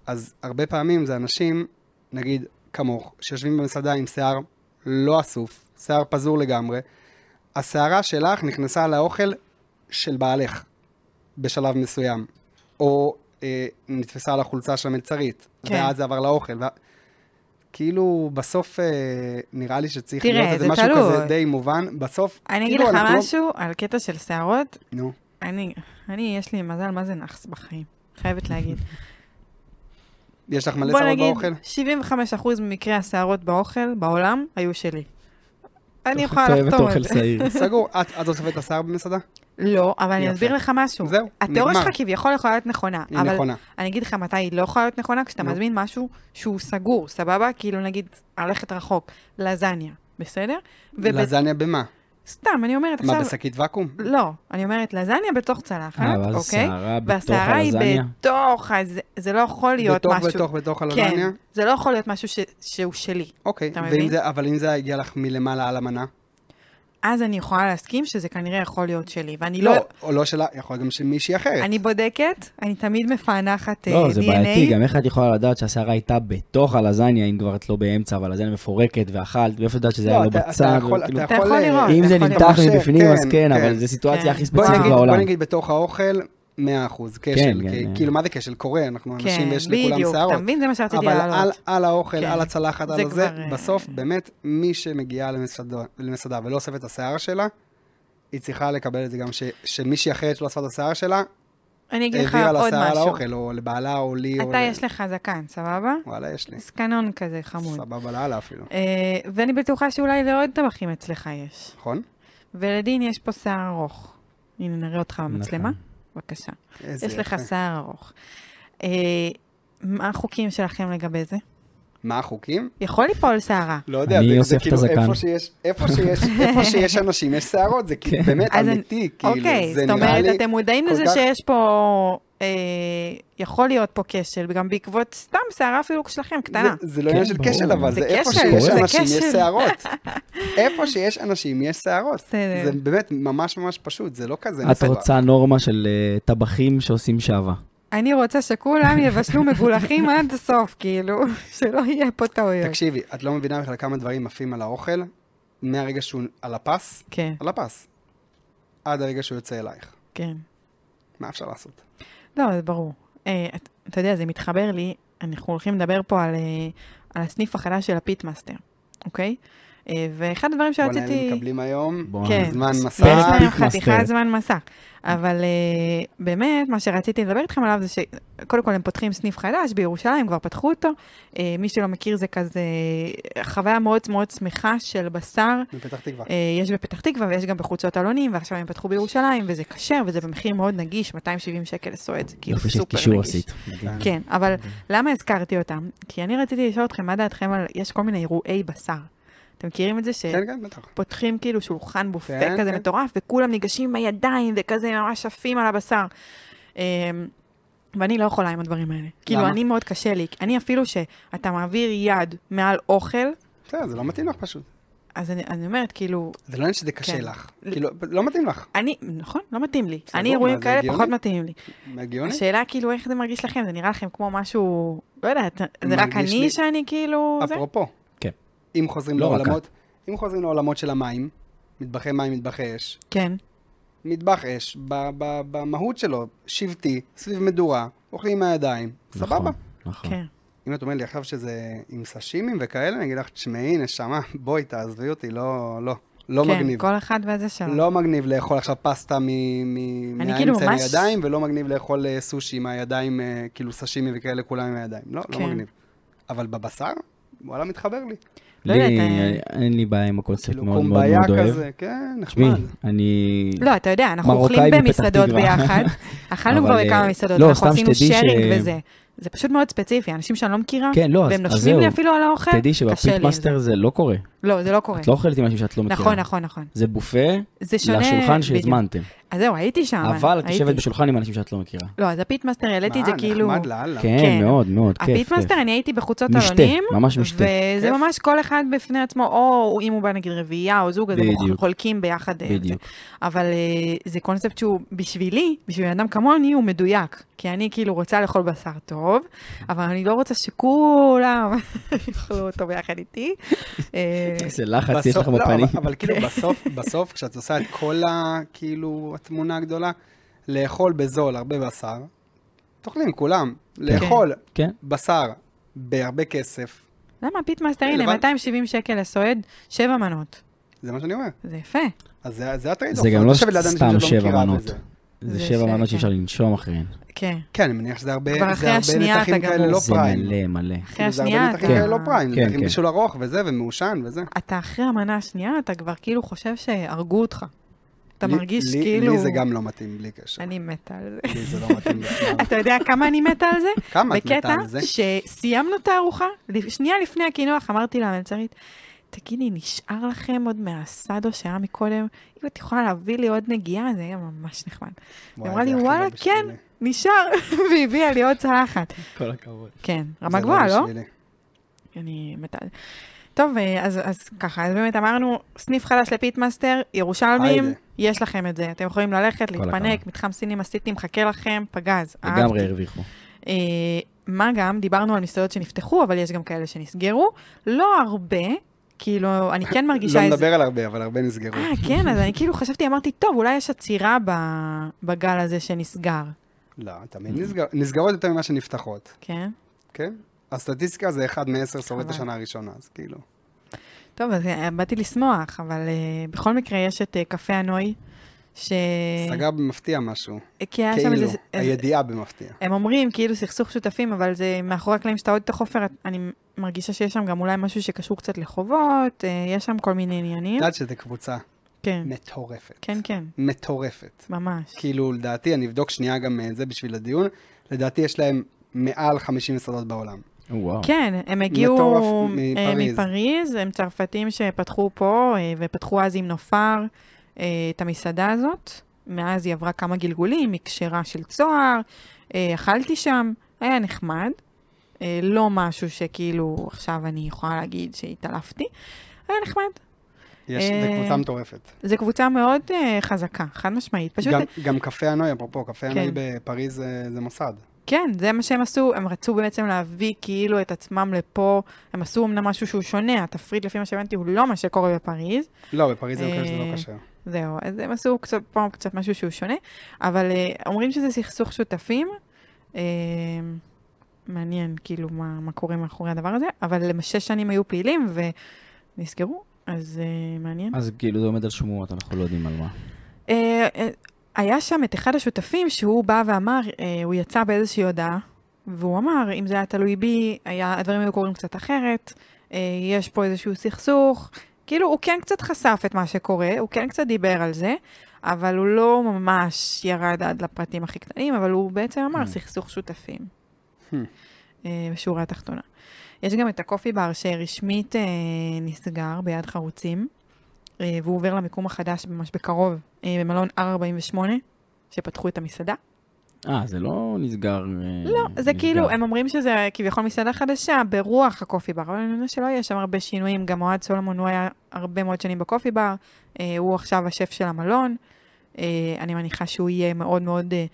אז הרבה פעמים זה אנשים, נגיד, כמוך, שיושבים במסעדה עם שיער לא אסוף, שיער פזור לגמרי, השערה שלך נכנסה לאוכל של בעלך בשלב מסוים, או אה, נתפסה על החולצה של המלצרית,
כן.
כן. ואז זה עבר לאוכל. וה... כאילו, בסוף אה, נראה לי שצריך
תראה,
להיות איזה
זה
משהו
תלוי.
כזה די מובן. בסוף,
אני אגיד
כאילו,
לך
אנחנו
משהו על קטע של שערות.
לא... נו,
אני, אני, יש לי מזל מה זה נאחס בחיים. חייבת להגיד.
יש לך מלא
בוא
שערות
נגיד,
באוכל?
75% ממקרי השערות באוכל, בעולם, היו שלי. אני
אתה
יכולה
אוהבת
לחתום על
אוכל
זה.
שעיר.
סגור. את, את אוספת את השיער במסעדה?
לא, אבל אני
יפה.
אסביר לך משהו.
זהו,
התיאוריה
נגמר.
שלך כביכול יכולה להיות נכונה,
היא
אבל
נכונה.
אני אגיד לך מתי היא לא יכולה להיות נכונה, כשאתה
נו.
מזמין משהו שהוא סגור, סבבה? כאילו נגיד, הלכת רחוק, לזניה, בסדר? ובסתם,
לזניה במה?
אני אומרת
מה,
עכשיו...
בשקית ואקום?
לא, אני אומרת לזניה בתוך צלחת,
אה, ואז
אוקיי?
שערה בתוך
והסערה היא
הלזניה.
בתוך, אז זה לא יכול להיות
בתוך,
משהו...
בתוך, בתוך
כן,
הלזניה?
זה לא יכול להיות משהו ש... שהוא שלי.
אוקיי.
אתה
ואם
מבין?
זה- אבל אם זה הגיע לך מלמעלה על המנה?
אז אני יכולה להסכים שזה כנראה יכול להיות שלי, ואני לא...
לא, או לא שלה, יכול להיות גם של מישהי אחרת.
אני בודקת, אני תמיד מפענחת אה, DNA.
לא, זה בעייתי, גם איך את יכולה לדעת שהשערה הייתה בתוך הלזניה, אם כבר את לא באמצע, אבל הלזניה מפורקת ואכלת, ואיפה את יודעת שזה היה
לא,
לא
אתה-
בצד?
אתה יכול-
וכאילו-
אתה יכול
אה,
לראות.
אם
אתה
זה
יכול
נמתח
לראות.
מבפנים,
כן,
אז כן,
כן.
אבל זו סיטואציה הכי
בוא
בוא
ספציפית
נגיד,
בעולם.
בוא נגיד בתוך האוכל, 100% כשל.
כן,
כי-
כן.
כאילו, מה זה כשל? קורה, אנחנו אנשים
כן,
ויש לכולם
בדיוק, אתה
שערות.
מבין? זה מה שרציתי
אבל על,
לעלות.
על האוכל,
כן.
על הצלחת,
זה
על זה,
כבר, אה,
בסוף באמת, מי שמגיעה למסעדה, למסעדה ולא אוספת את השיער שלה, היא צריכה לקבל את זה גם ש, שמישהי אחרת שלא אספה את השיער שלה,
אני אגיד לך
העבירה
עוד
לשיער
משהו.
לאוכל, או לבעלה, או לי, או...
אתה
ל-
יש לך זקן, סבבה?
וואלה, יש לי.
זקנון כזה חמוד.
אוקיי. סבבה לאללה אפילו.
אה, ואני בטוחה שאולי לעוד טבחים אצלך יש.
נכון?
ולדין יש פה שיער ארוך. הנה, נראה אותך במצלמה.
נכון.
בבקשה.
איזה
יש לך
יפה.
שיער ארוך. אה, מה החוקים שלכם לגבי זה?
מה החוקים?
יכול ליפול שערה.
לא יודע,
אני
זה-
אוסף
זה
את
כאילו
הזקן.
איפה שיש- איפה שיש- איפה שיש אנשים, יש שערות, זה
כן.
כאילו באמת
אז אני-
אמיתי, כאילו,
אוקיי,
זה
זאת
נראה לי...
אומרת, אתם מודעים
כל
לזה
כך-
שיש פה, אה, יכול להיות פה כשל, גם בעקבות סתם שערה אפילו שלכם, קטנה.
זה, זה לא עניין
כן,
של
ברור.
כשל, אבל
זה
זה, איפה
כשל,
שיש
זה
אנשים, יש
כשל.
שערות. איפה שיש אנשים, יש שערות.
בסדר.
זה באמת ממש ממש פשוט, זה לא כזה
את רוצה נורמה של אה, טבחים שעושים שעווה.
אני רוצה שכולם יבשלו מגולחים עד הסוף, כאילו, שלא יהיה פה טעויות.
תקשיבי, את לא מבינה בכלל כמה דברים עפים על האוכל, מהרגע שהוא על הפס,
כן,
על הפס, עד הרגע שהוא יוצא אלייך.
כן.
מה אפשר לעשות?
לא, זה ברור. אה, את- אתה יודע, זה מתחבר לי, אנחנו הולכים לדבר פה על, אה, על הסניף החדש של הפיטמאסטר, אוקיי? אה, ואחד הדברים
בוא'נה,
שרציתי...
הם מקבלים היום
בואנה,
כן.
זה-
זמן
יש
אה,
מסע.
להם
פיטמאסטר.
חתיכת זמן מסע. אבל אה, באמת, מה שרציתי לדבר איתכם עליו זה שקודם כל הם פותחים סניף חדש בירושלים, כבר פתחו אותו. אה, מי שלא מכיר זה כזה חוויה מאוד מאוד שמחה של בשר.
מפתח תקווה.
אה, יש בפתח תקווה ויש גם בחוצות אלונים, ועכשיו הם פתחו בירושלים, וזה כשר, וזה במחיר מאוד נגיש, 270 שקל לסועד, זה כאילו
יופי של
סופר
קישור
נגיש.
עשית.
כן, אבל למה הזכרתי אותם? כי אני רציתי לשאול אתכם, מה דעתכם על, יש כל מיני אירועי בשר. אתם מכירים את זה ש...
כן, כן, בטח.
פותחים כאילו שולחן בופה כן,
כן,
כזה כן.
כן.
מטורף, וכולם ניגשים עם הידיים וכזה ממש עפים על הבשר. אמ, ואני לא יכולה עם הדברים האלה. כאילו, אני מאוד קשה לי. אני אפילו שאתה מעביר יד מעל אוכל,
בסדר, זה לא מתאים לך פשוט.
אז אני, אני אומרת, כאילו,
זה לא עניין שזה קשה
כן.
לך. כאילו, לא מתאים לך.
אני, נכון, לא מתאים לי.
בסדר,
אני אירועים
מה, זה
כאלה
הגיוני?
פחות מתאים לי.
הגיוני?
השאלה כאילו, איך זה מרגיש לכם? זה נראה לכם כמו משהו, לא יודעת, זה רק
מרגיש
אני
לי-
שאני כאילו... זה?
אפרופו.
כן.
אם חוזרים
לא רק
לעולמות, אם חוזרים לעולמות של המים, מטבחי מים, מטבחי אש,
כן,
מטבח אש, ב- ב- במהות שלו, שבטי, סביב מדורה, אוכלים עם הידיים, סבבה.
נכון, נכון.
כן.
אם את אומרת לי עכשיו שזה עם סשימים וכאלה, אני אגיד לך, תשמעי, נשמה, בואי, תעזבי אותי, לא, לא, לא
כן,
מגניב.
כל אחד והזה שלו.
לא מגניב לאכול עכשיו פסטה מ- מ-
אני כאילו
מהאמצע עם
ממש-
הידיים, ולא מגניב לאכול אה, סושי עם הידיים, אה, כאילו סשימי וכאלה, כולם עם הידיים. לא, לא
כן.
מגניב. אבל בבשר, וואלה, מתחבר לי.
לא
לי
יודעת, אה,
אין לי בעיה עם הקונספט
כאילו
מאוד מאוד מאוד אוהב.
כזה, כן,
תשמעי,
נחמד.
אני...
לא, אתה יודע, אנחנו
מרוקאי
אוכלים
מפתח
במסעדות
תקווה.
ביחד. אכלנו
אבל,
כבר
אה,
בכמה מסעדות,
לא,
אנחנו
סתם
עשינו
שתדעי ש-
שיירינג וזה. זה פשוט מאוד ספציפי, אנשים שאני לא מכירה,
כן, לא, אז
והם
אז
נושמים
זהו.
לי אפילו על האוכל,
תדעי
קשה לי עם זה.
שבפיטמאסטר זה לא קורה.
לא, זה לא קורה.
את לא אוכלת עם אנשים שאת לא מכירה.
נכון, נכון, נכון.
זה בופה
זה שונה... בדיוק.
לשולחן שהזמנתם.
אז זהו, הייתי שם.
אבל את
הייתי.
יושבת בשולחן עם אנשים שאת לא מכירה.
לא, אז הפיטמאסטר, העליתי את זה
מה,
כאילו...
נחמד לאללה.
כן,
כן.
מאוד, מאוד, כיף. כיף.
הפיטמאסטר, אני הייתי בחוצות
משתה,
אלונים.
ממש משתה.
וזה
כיף.
ממש כל אחד בפני עצמו, או אם הוא בא נגיד רביעייה או זוג, אז הם
בדיוק.
חולקים ביחד. אה, זה.
בדיוק.
אבל אה, זה קונספט שהוא בשבילי, בשביל בן אדם כמוני, הוא מדויק. כי אני כאילו רוצה לאכול בשר טוב, אבל אני לא רוצה שכולם יאכלו אותו ביחד איתי. אה,
איזה לחץ יש
בסוף-
לך
לא,
בפנים.
אבל- אבל כאילו בסוף, בסוף, כשאת עושה את כל ה... כאילו, התמונה הגדולה, לאכול בזול הרבה בשר, תאכלים כולם. לאכול
כן.
בשר בהרבה כסף,
למה הפיטמאסטר,
כן,
הנה,
לבד.
270 שקל לסועד, שבע מנות.
זה מה שאני אומר.
זה יפה.
אז זה- זה הטרייד
זה גם לא סתם שבע
מכירה
מנות.
בזה.
זה
זה
שבע
ש-
מנות
כן.
שאפשר לנשום אחריהן.
כן.
כן, אני מניח שזה הרבה,
כבר אחרי
זה הרבה
השנייה
נתחים
אתה גם-
כאלה לא
זה
פריים.
מלא, מלא.
אחרי
כאילו, זה
השנייה
הרבה
אתה...
נתחים כאלה לא פריים,
כן,
כן,
כן.
כן. בישול ארוך וזה, ומעושן וזה.
אתה אחרי המנה השנייה, אתה כבר כאילו חושב שהרגו אותך. אתה
לי-
מרגיש
לי-
כאילו...
לי זה גם לא מתאים, בלי קשר.
אני מתה על זה.
לי זה לא מתאים. בכלל.
אתה יודע כמה אני מתה על זה?
כמה את מתה
בקטע
על זה?
שסיימנו את הארוחה, לפ- שנייה לפני הקינוח אמרתי למלצרית, תגידי, נשאר לכם עוד מהסאדו שהיה מקודם? אם את יכולה להביא לי עוד נגיעה, זה היה ממש נחמד.
וואי,
אמרה לי,
זה הכי לא
"וואלה,
בשבילי.
כן." נשאר, והביאה לי עוד צלחת.
כל הכבוד.
כן,
זה
רמה גבוהה, לא?
בשבילי.
אני מתה על זה. טוב, אה, אז, אז ככה, אז באמת אמרנו, סניף חדש לפיטמאסטר, ירושלמים,
היידה.
יש לכם את זה. אתם יכולים ללכת, להתפנק,
הכבוד.
מתחם סינים הסיטי מחכה לכם, פגז,
לגמרי הרוויחו.
אה, מה גם, דיברנו על מסעדות שנפתחו, אבל יש גם כאלה שנסגרו. לא הרבה, כאילו, אני כן מרגישה
לא
איזה...
נדבר על הרבה, אבל הרבה נסגרו.
אה, כן, אז אני כאילו חשבתי, אמרתי, טוב, אולי יש עצירה ב... בגל הזה שנסגר,
לא, תמיד נסגר- נסגרות יותר ממה שנפתחות,
כן?
כן? הסטטיסטיקה זה אחד מעשר שורד
חבל.
השנה הראשונה, אז כאילו.
טוב, אז אה, באתי לשמוח, אבל אה, בכל מקרה יש את אה, קפה הנוי, ש... אה,
סגר במפתיע משהו.
כי אה. היה שם
כאילו,
איזה... איזה-
הידיעה במפתיע.
הם אומרים כאילו סכסוך שותפים, אבל זה מאחורי הקלעים שאתה עוד את החופר, את- אני מרגישה שיש שם גם אולי משהו שקשור קצת לחובות, אה, יש שם כל מיני
את
עניינים.
יודעת שזו קבוצה
כן,
מטורפת.
כן, כן,
מטורפת.
ממש.
כאילו, לדעתי, אני אבדוק שנייה גם אה, זה בשביל הדיון, לדעתי יש להם מעל 50 מסעדות בעולם.
וואו.
כן, הם הגיעו
מטורף
אה,
מפריז.
מפריז, הם צרפתים שפתחו פה אה, ופתחו אז עם נופר אה, את המסעדה הזאת. מאז היא עברה כמה גלגולים, היא כשרה של צוהר, אה, אכלתי שם, היה נחמד. אה, לא משהו שכאילו עכשיו אני יכולה להגיד שהתעלפתי, היה נחמד.
יש, זו
אה,
קבוצה מטורפת.
זו קבוצה מאוד אה, חזקה, חד משמעית. פשוט,
גם, גם קפה הנוי, אפרופו, קפה
כן.
הנוי בפריז זה, זה מוסד.
כן, זה מה שהם עשו, הם רצו בעצם להביא כאילו את עצמם לפה, הם עשו אמנם משהו שהוא שונה, התפריט לפי מה שהבנתי הוא לא מה שקורה בפריז,
לא, בפריז זה לא כשר, זה
אה,
לא כשר.
זהו, אז הם עשו קצת, פה קצת משהו שהוא שונה, אבל אה, אומרים שזה סכסוך שותפים. אה, מעניין כאילו מה, מה קורה מאחורי הדבר הזה, אבל הם שש שנים היו פעילים ונסגרו, אז אה, מעניין.
אז כאילו זה עומד על שמועות, אנחנו לא יודעים על מה.
אה, אה, היה שם את אחד השותפים שהוא בא ואמר, אה, הוא יצא באיזושהי הודעה, והוא אמר, אם זה היה תלוי בי, היה, הדברים היו קורים קצת אחרת, אה, יש פה איזשהו סכסוך. כאילו, הוא כן קצת חשף את מה שקורה, הוא כן קצת דיבר על זה, אבל הוא לא ממש ירד עד לפרטים הכי קטנים, אבל הוא בעצם אמר
Mm.
סכסוך שותפים.
Hmm.
אה, בשורה התחתונה. יש גם את הקופי בר שרשמית אה, נסגר ביד חרוצים, אה, והוא עובר למיקום החדש ממש בקרוב, אה, במלון R48, שפתחו את המסעדה.
אה, זה לא נסגר.
לא, זה כאילו, הם אומרים שזה כביכול מסעדה חדשה ברוח הקופי בר, אבל אני מבינה שלא יהיה שם הרבה שינויים. גם אוהד סולומון, הוא היה הרבה מאוד שנים בקופי בר, אה, הוא עכשיו השף של המלון. אה, אני מניחה שהוא יהיה מאוד מאוד, אה,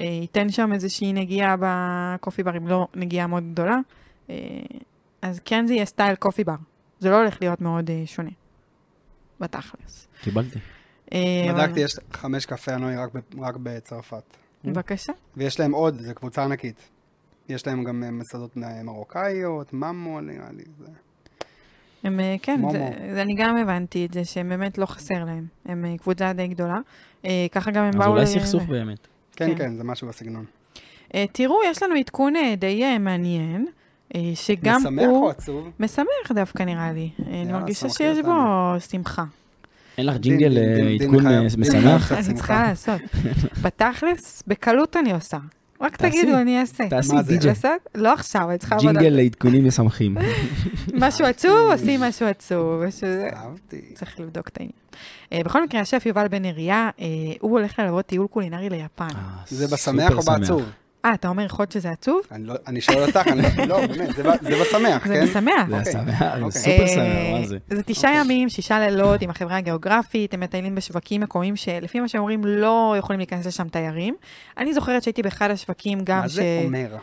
אה, ייתן שם איזושהי נגיעה בקופי בר, אם לא נגיעה מאוד גדולה. אה, אז כן זה יהיה סטייל קופי בר. זה לא הולך להיות מאוד אה, שונה. בתכלס.
קיבלתי.
אה, אבל-
בדקתי, יש חמש קפה הנוי רק, ב- רק בצרפת.
בבקשה.
ויש להם עוד, זו קבוצה ענקית. יש להם גם אה, מסעדות מ- מרוקאיות, ממו, נראה לי. זה.
הם, אה, כן,
מומו.
זה, זה, אני גם הבנתי את זה, שהם באמת לא חסר להם. הם אה, קבוצה די גדולה. אה, ככה גם הם
אז
באו...
אולי
ל-
סכסוך באמת.
כן.
כן, כן, זה משהו בסגנון.
אה, תראו, יש לנו עדכון אה, די אה, מעניין, אה, שגם הוא...
משמח או עצוב?
משמח דווקא נראה לי. אה, אני
יאללה,
מרגישה
שמחי
שיש בו
אותנו.
שמחה.
אין לך ג'ינגל,
דין-
אה,
דין- דין
עדכון
חייב-
אה,
דין
משמח?
חייב קצת
אני
שמחה.
צריכה לעשות. בתכלס, בקלות אני עושה. רק
תעשי.
תגידו, אני אעשה.
תעשי
מה זה?
די.ג'יי.
לעשות? לא עכשיו, אני צריכה עבודה.
ג'ינגל לעדכונים משמחים.
משהו עצוב, עושים משהו עצוב. משהו זה.
אהבתי.
צריך לבדוק את העניין. אה, בכל מקרה, השף יובל בן אריה, אה, הוא הולך ללוות טיול קולינרי ליפן.
אה,
זה
סופר
בשמח או
שמח.
בעצוב?
אה, אתה אומר יכול להיות שזה עצוב?
אני לא- אני שואל אותך, אני- לא, באמת, זה ב- זה בשמח,
זה
כן?
משמח.
זה
אוקיי.
השמח, זה
אוקיי.
סופר
אה,
שמח, מה זה? אוקיי.
זה תשעה ימים, שישה לילות עם החברה הגיאוגרפית, הם מטיילים בשווקים מקומיים שלפי מה שאומרים לא יכולים להיכנס לשם תיירים. אני זוכרת שהייתי באחד השווקים גם
מה
ש...
זה אומר?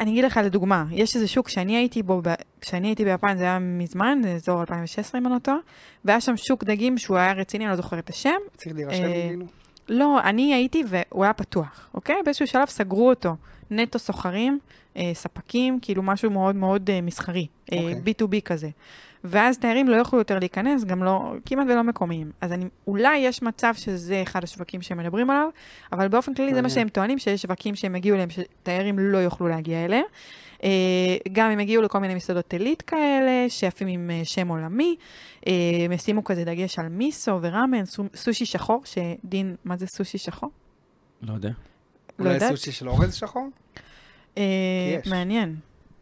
אני אגיד לך לדוגמה, יש איזה שוק שאני הייתי בו, ב- כשאני הייתי ביפן זה היה מזמן, זה אזור 2016 אם אני לא טועה, והיה שם שוק דגים שהוא היה רציני, אני לא זוכרת את השם.
צריך להירשם
אה,
כאילו?
לא, אני הייתי והוא היה פתוח, אוקיי? באיזשהו שלב סגרו אותו. נטו סוחרים, אה, ספקים, כאילו משהו מאוד מאוד אה, מסחרי, אה,
אוקיי.
B2B כזה. ואז תיירים לא יוכלו יותר להיכנס, גם לא, כמעט ולא מקומיים. אז אני, אולי יש מצב שזה אחד השווקים שהם מדברים עליו, אבל באופן כללי זה מה
מעניין.
שהם טוענים, שיש שווקים שהם הגיעו אליהם, שתיירים לא יוכלו להגיע אליהם. אה, גם הם הגיעו לכל מיני מסעדות עילית כאלה, שפים עם אה, שם עולמי. אה, הם ישימו כזה דגש על מיסו וראמן, סו- סושי שחור, שדין, מה זה סושי שחור?
לא יודע.
לא
אולי
יודעת.
סושי של אורז שחור?
אה,
יש.
מעניין.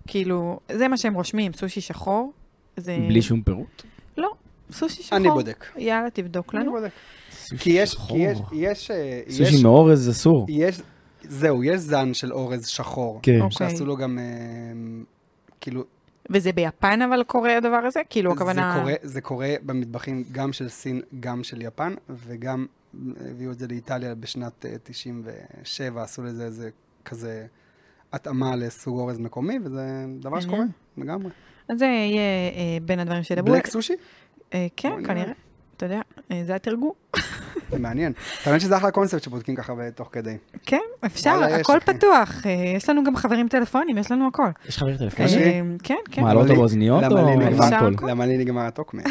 כאילו, זה מה שהם רושמים, סושי שחור. זה... לא,
בלי שום פירוט?
סושי שחור.
אני בודק.
יאללה, תבדוק
אני
לנו.
בודק. כי יש, כי
שחור.
יש, יש, אה,
סושי
יש- אה,
מאורז אסור.
יש, זהו, יש זן של אורז שחור.
כן.
אוקיי.
שעשו לו גם, אה, כאילו,
וזה ביפן אבל קורה הדבר הזה? כאילו, הכוונה...
זה קורה, זה קורה במטבחים גם של סין, גם של יפן, וגם הביאו את זה לאיטליה בשנת אה, 97, עשו לזה איזה כזה התאמה לסוג אורז מקומי, וזה דבר שקורה
מעניין.
לגמרי.
אז זה יהיה אה, בין הדברים שידברו.
בלק סושי?
אה,
בוא
כן,
נראה.
כנראה. אתה יודע, אה, זה התרגום.
זה מעניין. האמת שזה אחלה קונספט שבודקים ככה בתוך כדי.
כן, אפשר,
וואלה, יש,
הכל
אחי.
פתוח. אה, יש לנו גם חברים טלפונים, יש לנו הכל.
יש חבר
אה,
טלפונים?
קשה.
כן, כן.
מה, לא אותו באוזניות
למה
או
לי
נגמר?
רמקול?
אפשר?
למה לי נגמר הטוקמן?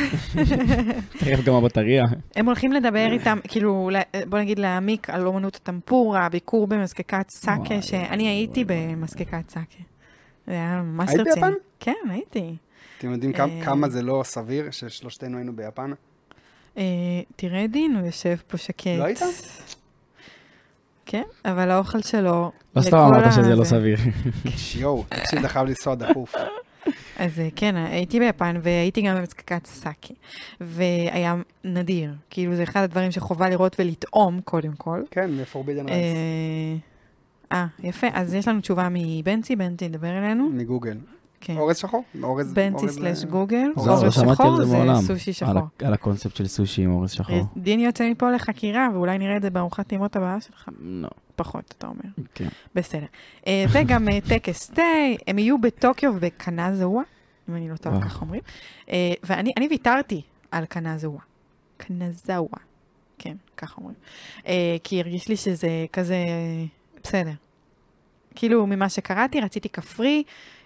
תכף גם הבטריה.
הם הולכים לדבר איתם, כאילו, ל- בוא נגיד להעמיק על אומנות הטמפורה, ביקור במזקקת סאקה,
וואי,
שאני
וואי,
הייתי
וואי, וואי.
במזקקת סאקה. זה היה ממש
היית
רציני.
ביפן?
כן, הייתי.
אתם יודעים
אה.
כמה- כמה זה לא סביר ששלושתנו היינו ביפן?
אה, תראה דין, הוא יושב פה שקט.
לא היית?
כן, אבל האוכל שלו...
לא
לכל
סתם אמרת שזה
הזה.
לא סביר.
יואו, תקשיב, אתה חייב לנסוע דחוף.
אז אה, כן, הייתי ביפן והייתי גם במזקקת סאקה. והיה נדיר. כאילו, זה אחד הדברים שחובה לראות ולטעום, קודם כל.
כן, מפורבידן רייס.
אה, אה, יפה. אז יש לנו תשובה מבנצי, בנצי ידבר אלינו.
מגוגל.
כן.
Mm. אורז שחור? אורז...
בנצי
אורז
סלאש
ל-
גוגל,
זהו, לא
אורז
שמעתי על
שחור
זה
זה
מעולם.
סושי
על
שחור. אה,
ה- על הקונספט של סושי עם אורז שחור.
דין יוצא מפה לחקירה, ואולי נראה את זה בארוחת טעימות הבאה שלך.
לא,
פחות, אתה אומר.
כן.
בסדר. אה, וגם אה, טקס תה, הם יהיו בטוקיו ובקנזווה, אם אני לא טועה,
וואו.
כך אומרים. אה, ואני אני ויתרתי על קנזווה. קנזווה. כן, ככה אומרים. אה, כי הרגיש לי שזה כזה, בסדר. כאילו, ממה שקראתי, רציתי כפרי,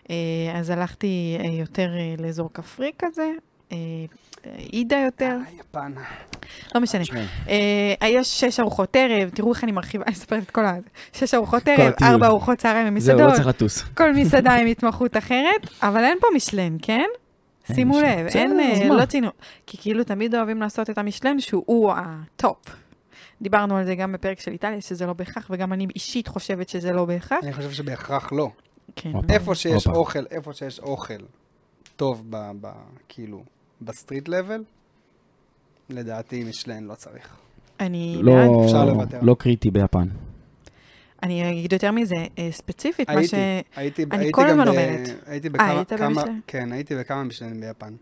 אה, אז הלכתי אה, יותר אה, לאזור כפרי כזה, אה, אה, עידה יותר,
אה, יפן.
לא משנה.
תשמעי,
אה, יש שש ארוחות ערב, תראו איך אני מרחיבה, אני מספרת את כל ה... שש ארוחות ערב,
הטיול.
ארבע ארוחות צהריים
זהו, לא
במסעדות,
צריך לטוס.
כל מסעדה עם התמחות אחרת, אבל אין פה משלן, כן?
אין
שימו
משלן.
לב,
בסדר,
אין,
אז
אה,
מה?
לא ציינו, כי כאילו תמיד אוהבים לעשות את המשלן שהוא הטופ. דיברנו על זה גם בפרק של איטליה, שזה לא בהכרח, וגם אני אישית חושבת שזה לא בהכרח.
אני חושב שבהכרח לא.
כן.
הופה.
איפה שיש
הופה.
אוכל, איפה שיש אוכל טוב, ב- ב- כאילו, בסטריט לבל, לדעתי משלן לא צריך.
אני
לא-
בעד.
אפשר לוותר.
לא קריטי ביפן.
אה, אני אגיד יותר מזה, אה, ספציפית, מה ש...
הייתי, הייתי,
אני
הייתי
כל
גם
הזמן
ב-
אומרת. אה,
הייתי בכמה,
היית לא
כמה-
במשלן?
כן, הייתי בכמה משלנים ביפן.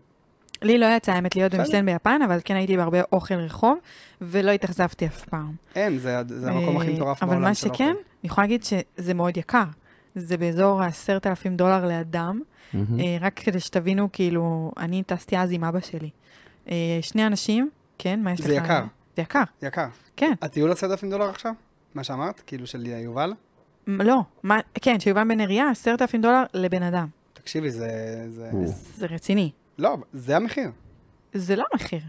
לי לא יצא האמת להיות
בסדר.
במשלן ביפן, אבל כן הייתי בהרבה אוכל רחוב, ולא התאכזבתי אף פעם.
אין, זה ה- זה המקום הכי
אה,
מטורף
אבל מה
בעולם כן. של אוכל.
שכן, אני יכולה להגיד שזה מאוד יקר. זה באזור ה-10,000 דולר לאדם,
Mm-hmm.
מהמם.
אה, רק כדי שתבינו, כאילו, אני טסתי אז עם אבא שלי. אה, שני אנשים, כן, מה יש לך?
זה יקר.
זה יקר,
יקר.
כן.
הטיול עשרת אלפים דולר עכשיו? מה שאמרת? כאילו של יובל?
מ- לא, מה, כן, שיובן בן אריה, 10,000 דולר לבן אדם.
תקשיבי, זה... זה-
או.
זה רציני.
לא, זה המחיר.
זה לא המחיר.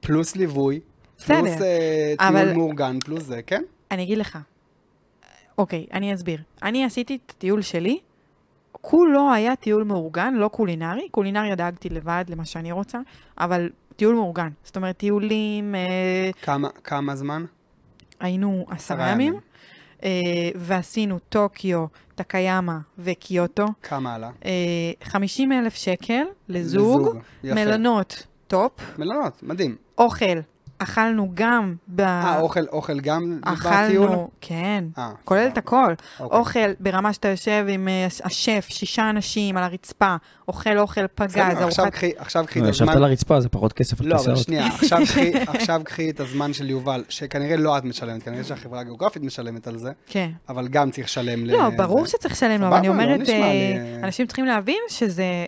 פלוס ליווי,
בסדר.
פלוס אה,
אבל-
טיול מאורגן, פלוס זה, כן?
אני אגיד לך. אוקיי, אני אסביר. אני עשיתי את הטיול שלי, כולו היה טיול מאורגן, לא קולינרי. קולינריה דאגתי לבד למה שאני רוצה, אבל טיול מאורגן. זאת אומרת, טיולים, אה,
כמה, כמה זמן?
היינו עשרה
ימים.
ימים, אה, ועשינו טוקיו, טקיאמה וקיוטו.
כמה עלה?
אה, 50 אלף שקל לזוג,
יפה.
מלונות טופ,
מלונות, מדהים.
אוכל, אכלנו גם ב...
אה, אוכל, אוכל גם בטיול?
אכלנו, כן,
אה,
כולל את
סבבה.
הכל.
אוקיי.
אוכל ברמה שאתה יושב עם אה, השף, שישה אנשים על הרצפה, אוכל אוכל
בסדר,
פגז,
עכשיו
ארוחת...
קחי- עכשיו קחי
נו,
את
לא, ישבת
הזמן.
על הרצפה, זה פחות כסף על
לא, אבל
כיסאות.
שנייה, עכשיו קחי- עכשיו קחי את הזמן של יובל, שכנראה לא את משלמת, כנראה שהחברה הגיאוגרפית משלמת על זה,
כן.
אבל גם צריך לשלם ל...
לא, ברור שצריך לשלם לו, אבל אני
סבבה, לא
אומרת,
נשמע
אה,
לי-
אנשים צריכים להבין שזה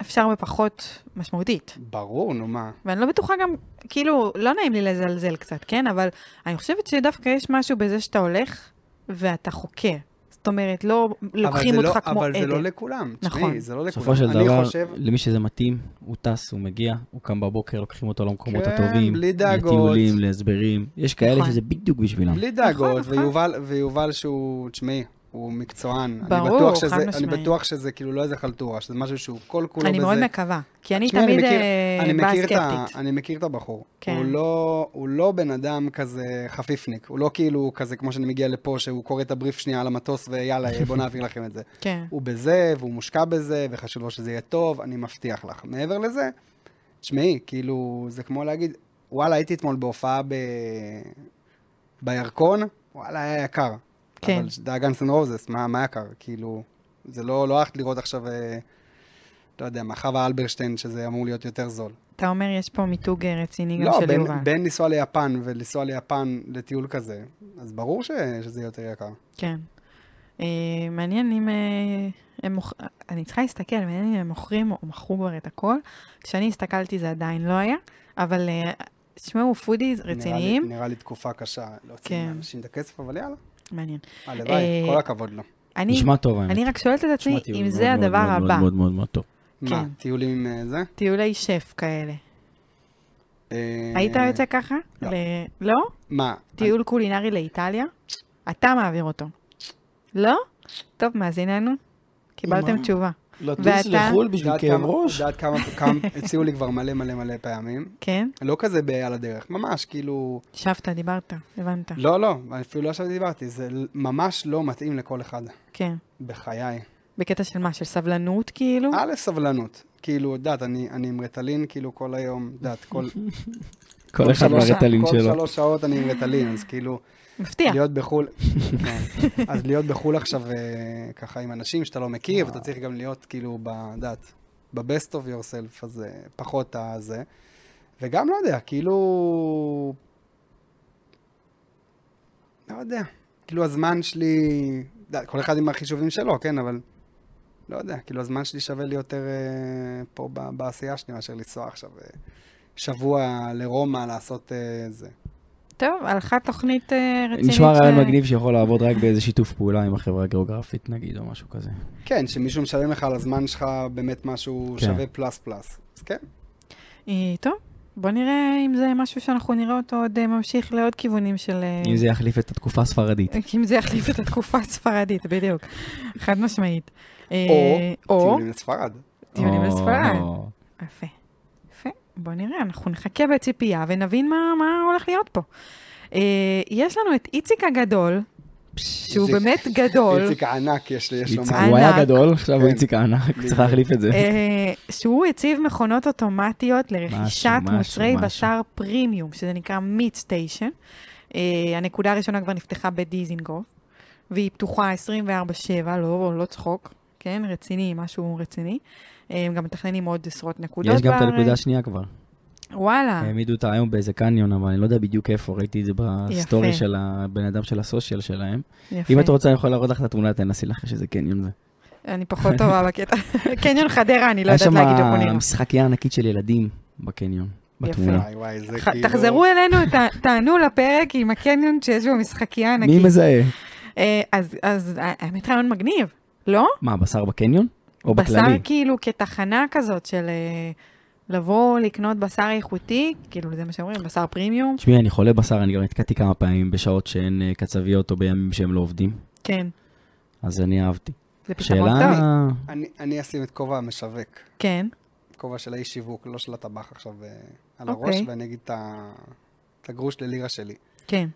אפשר בפחות משמעותית.
ברור, נו מה.
ואני לא בטוחה גם, כאילו, לא נעים לי לזלזל קצת, כן? אבל אני חושבת שדווקא יש משהו בזה שאתה הולך ואתה חוקר. זאת אומרת, לא לוקחים
אבל זה
אותך
לא-
כמו
אבל זה
עדר.
לא לכולם,
נכון.
תשמעי, זה לא לכולם.
בסופו של דבר,
אני חושב...
למי שזה מתאים, הוא טס, הוא מגיע, הוא קם בבוקר, לוקחים אותו למקומות
כן,
הטובים.
בלי דאגות.
לטיולים, להסברים. יש כאלה
נכון.
שזה בדיוק בשבילם.
בלי דאגות,
נכון.
ויובל, ויובל שהוא, תשמעי, הוא מקצוען. אני
ברור,
בטוח שזה-
חד
אני
משמעית.
בטוח שזה כאילו לא איזה חלטורה, שזה משהו שהוא כל כולו
אני
בזה.
מאוד מקווה, כי אני
תשמעי, אני
תמיד
מכיר-
אה,
אני
באה
מכיר את ה-
סקפטית.
אני מכיר את הבחור.
כן.
הוא לא- הוא לא בן אדם כזה חפיפניק. הוא לא כאילו כזה, כמו שאני מגיע לפה, שהוא קורא את הבריף שנייה על המטוס, ויאללה, בוא נעביר לכם את זה.
כן.
הוא בזה, והוא מושקע בזה, וחשוב לו שזה יהיה טוב, אני מבטיח לך. מעבר לזה, תשמעי, כאילו, זה כמו להגיד, וואלה, הייתי אתמול בהופעה ב... בירקון, וואלה, היה יקר.
כן.
אבל דאגנס אנד רוזס, מה, מה יקר? כאילו, זה לא, לא הלכת לראות עכשיו, אה, לא יודע, מה חווה אלברשטיין, שזה אמור להיות יותר זול.
אתה אומר, יש פה מיתוג אה, רציני גם
לא,
של
בין,
יובל.
בין לנסוע ליפן ולנסוע ליפן לטיול כזה, אז ברור ש, שזה יהיה יותר יקר.
כן. אה, מעניין אם... אה, הם מוכ... אני צריכה להסתכל, מעניין אם הם מוכרים או מכרו כבר את הכל. כשאני הסתכלתי זה עדיין לא היה, אבל אה, תשמעו, פודיז רציניים.
נראה לי, נראה לי תקופה קשה להוציא
כן.
כן. מאנשים את הכסף, אבל יאללה.
מעניין.
הלוואי,
אה,
כל הכבוד לו.
אני,
נשמע טוב, האמת.
אני רק שואלת את עצמי
נשמע טיול
אם
מאוד,
זה
מאוד,
הדבר
מאוד,
הבא,
מאוד מאוד מאוד מאוד טוב.
מה,
כן.
טיולים עם אה, זה?
טיולי שף כאלה.
אה,
היית יוצא ככה?
לא.
ל- לא?
מה?
טיול קולינרי לאיטליה? אתה מעביר אותו. לא? טוב, מאזיננו, קיבלתם
אמא.
תשובה.
לטוס
ואתה? לחו"ל
את יודעת כמה- את יודעת כמה, כמה, הציעו לי כבר מלא מלא מלא פעמים.
כן?
לא כזה ב- על הדרך, ממש, כאילו...
ישבת, דיברת, הבנת.
לא, לא, אפילו לא ישבתי דיברתי, זה ממש לא מתאים לכל אחד,
כן.
בחיי.
בקטע של מה? של סבלנות, כאילו?
א', סבלנות. כאילו, את יודעת, אני, אני עם רטלין כאילו כל היום, את יודעת, כל,
כל אחד
שלוש-
ברטלין
כל
שלו.
שלוש שעות אני עם רטלין, אז כאילו,
מפתיע.
להיות בחו"ל, כן. אז להיות בחו"ל עכשיו אה, ככה עם אנשים שאתה לא מכיר, ואתה צריך גם להיות כאילו, בדעת, ב-best of yourself, אז אה, פחות הזה. וגם, לא יודע, כאילו... לא יודע. כאילו, הזמן שלי... יודע, כל אחד עם החישובים שלו, כן, אבל... לא יודע, כאילו, הזמן שלי שווה לי יותר אה, פה ב- בעשייה שלי, מאשר לנסוע עכשיו אה, שבוע לרומא לעשות אה, זה.
טוב, הלכה תוכנית אה, רצינית.
נשמע רעיון
ש-
מגניב שיכול לעבוד רק באיזה שיתוף פעולה עם החברה הגיאוגרפית, נגיד, או משהו כזה.
כן, שמישהו משלם לך על הזמן שלך באמת משהו
כן.
שווה פלוס פלוס. אז כן,
אה, טוב, בוא נראה אם זה משהו שאנחנו נראה אותו עוד אה, ממשיך לעוד כיוונים של... אה,
אם זה יחליף את התקופה הספרדית.
אם זה יחליף את התקופה הספרדית, בדיוק. חד משמעית. אה,
או
או
טיולים לספרד.
טיולים
או,
לספרד.
או.
יפה. יפה. בוא נראה, אנחנו נחכה בציפייה ונבין מה, מה הולך להיות פה. אה, יש לנו את איציק הגדול, שהוא
איציק.
באמת גדול.
איציק הענק יש לי, יש לו
איציק-
מה.
הוא היה
ענק.
גדול, עכשיו הוא
כן.
איציק הענק, צריך להחליף את זה.
אה, שהוא הציב מכונות אוטומטיות לרכישת
משהו,
מוצרי
משהו.
בשר פרימיום, שזה נקרא מיט סטיישן. אה, הנקודה הראשונה כבר נפתחה בדיזינגוף, והיא פתוחה 24/7, לא, לא צחוק, כן? רציני, משהו רציני. אה, הם גם מתכננים עוד עשרות נקודות.
יש גם את
בארץ.
הנקודה השנייה כבר.
אה. וואלה,
העמידו אותה היום באיזה קניון, אבל אני לא יודע בדיוק איפה, ראיתי את זה בסטורי
יפה.
של הבן אדם של הסושיאל שלהם.
יפה.
אם את רוצה, אני יכול להראות לך את התמונה, תנסי לך שזה קניון זה.
אני פחות טובה בקטע. קניון חדרה, אני לא יודעת להגיד איך הוא
היה
נראה.
שם אה, משחקייה ענקית של ילדים בקניון, בתמונה.
וואי וואי, זה
ח-
כאילו...
לא?
תחזרו אלינו, ת- תענו לפרק עם הקניון שיש בו משחקייה ענקית.
מי מזהה?
אה, אז, אז אה, האמת רעיון מגניב, לא?
מה, בשר בקניון? או בכללי?
בשר כאילו כתחנה כזאת של אה, לבוא לקנות בשר איכותי, כאילו זה מה שאומרים, בשר פרימיום.
תשמעי, אני חולה בשר, אני גם נתקעתי כמה פעמים בשעות שהן אה, קצביות או בימים שהם לא עובדים,
כן,
אז אני אהבתי.
זה פתרון
שאלה...
טוב.
אני- אני אשים את כובע המשווק,
כן,
כובע של האיש שיווק, לא של הטבח עכשיו אה, על
אוקיי.
הראש, ואני אגיד את ה- את הגרוש ללירה שלי.
כן.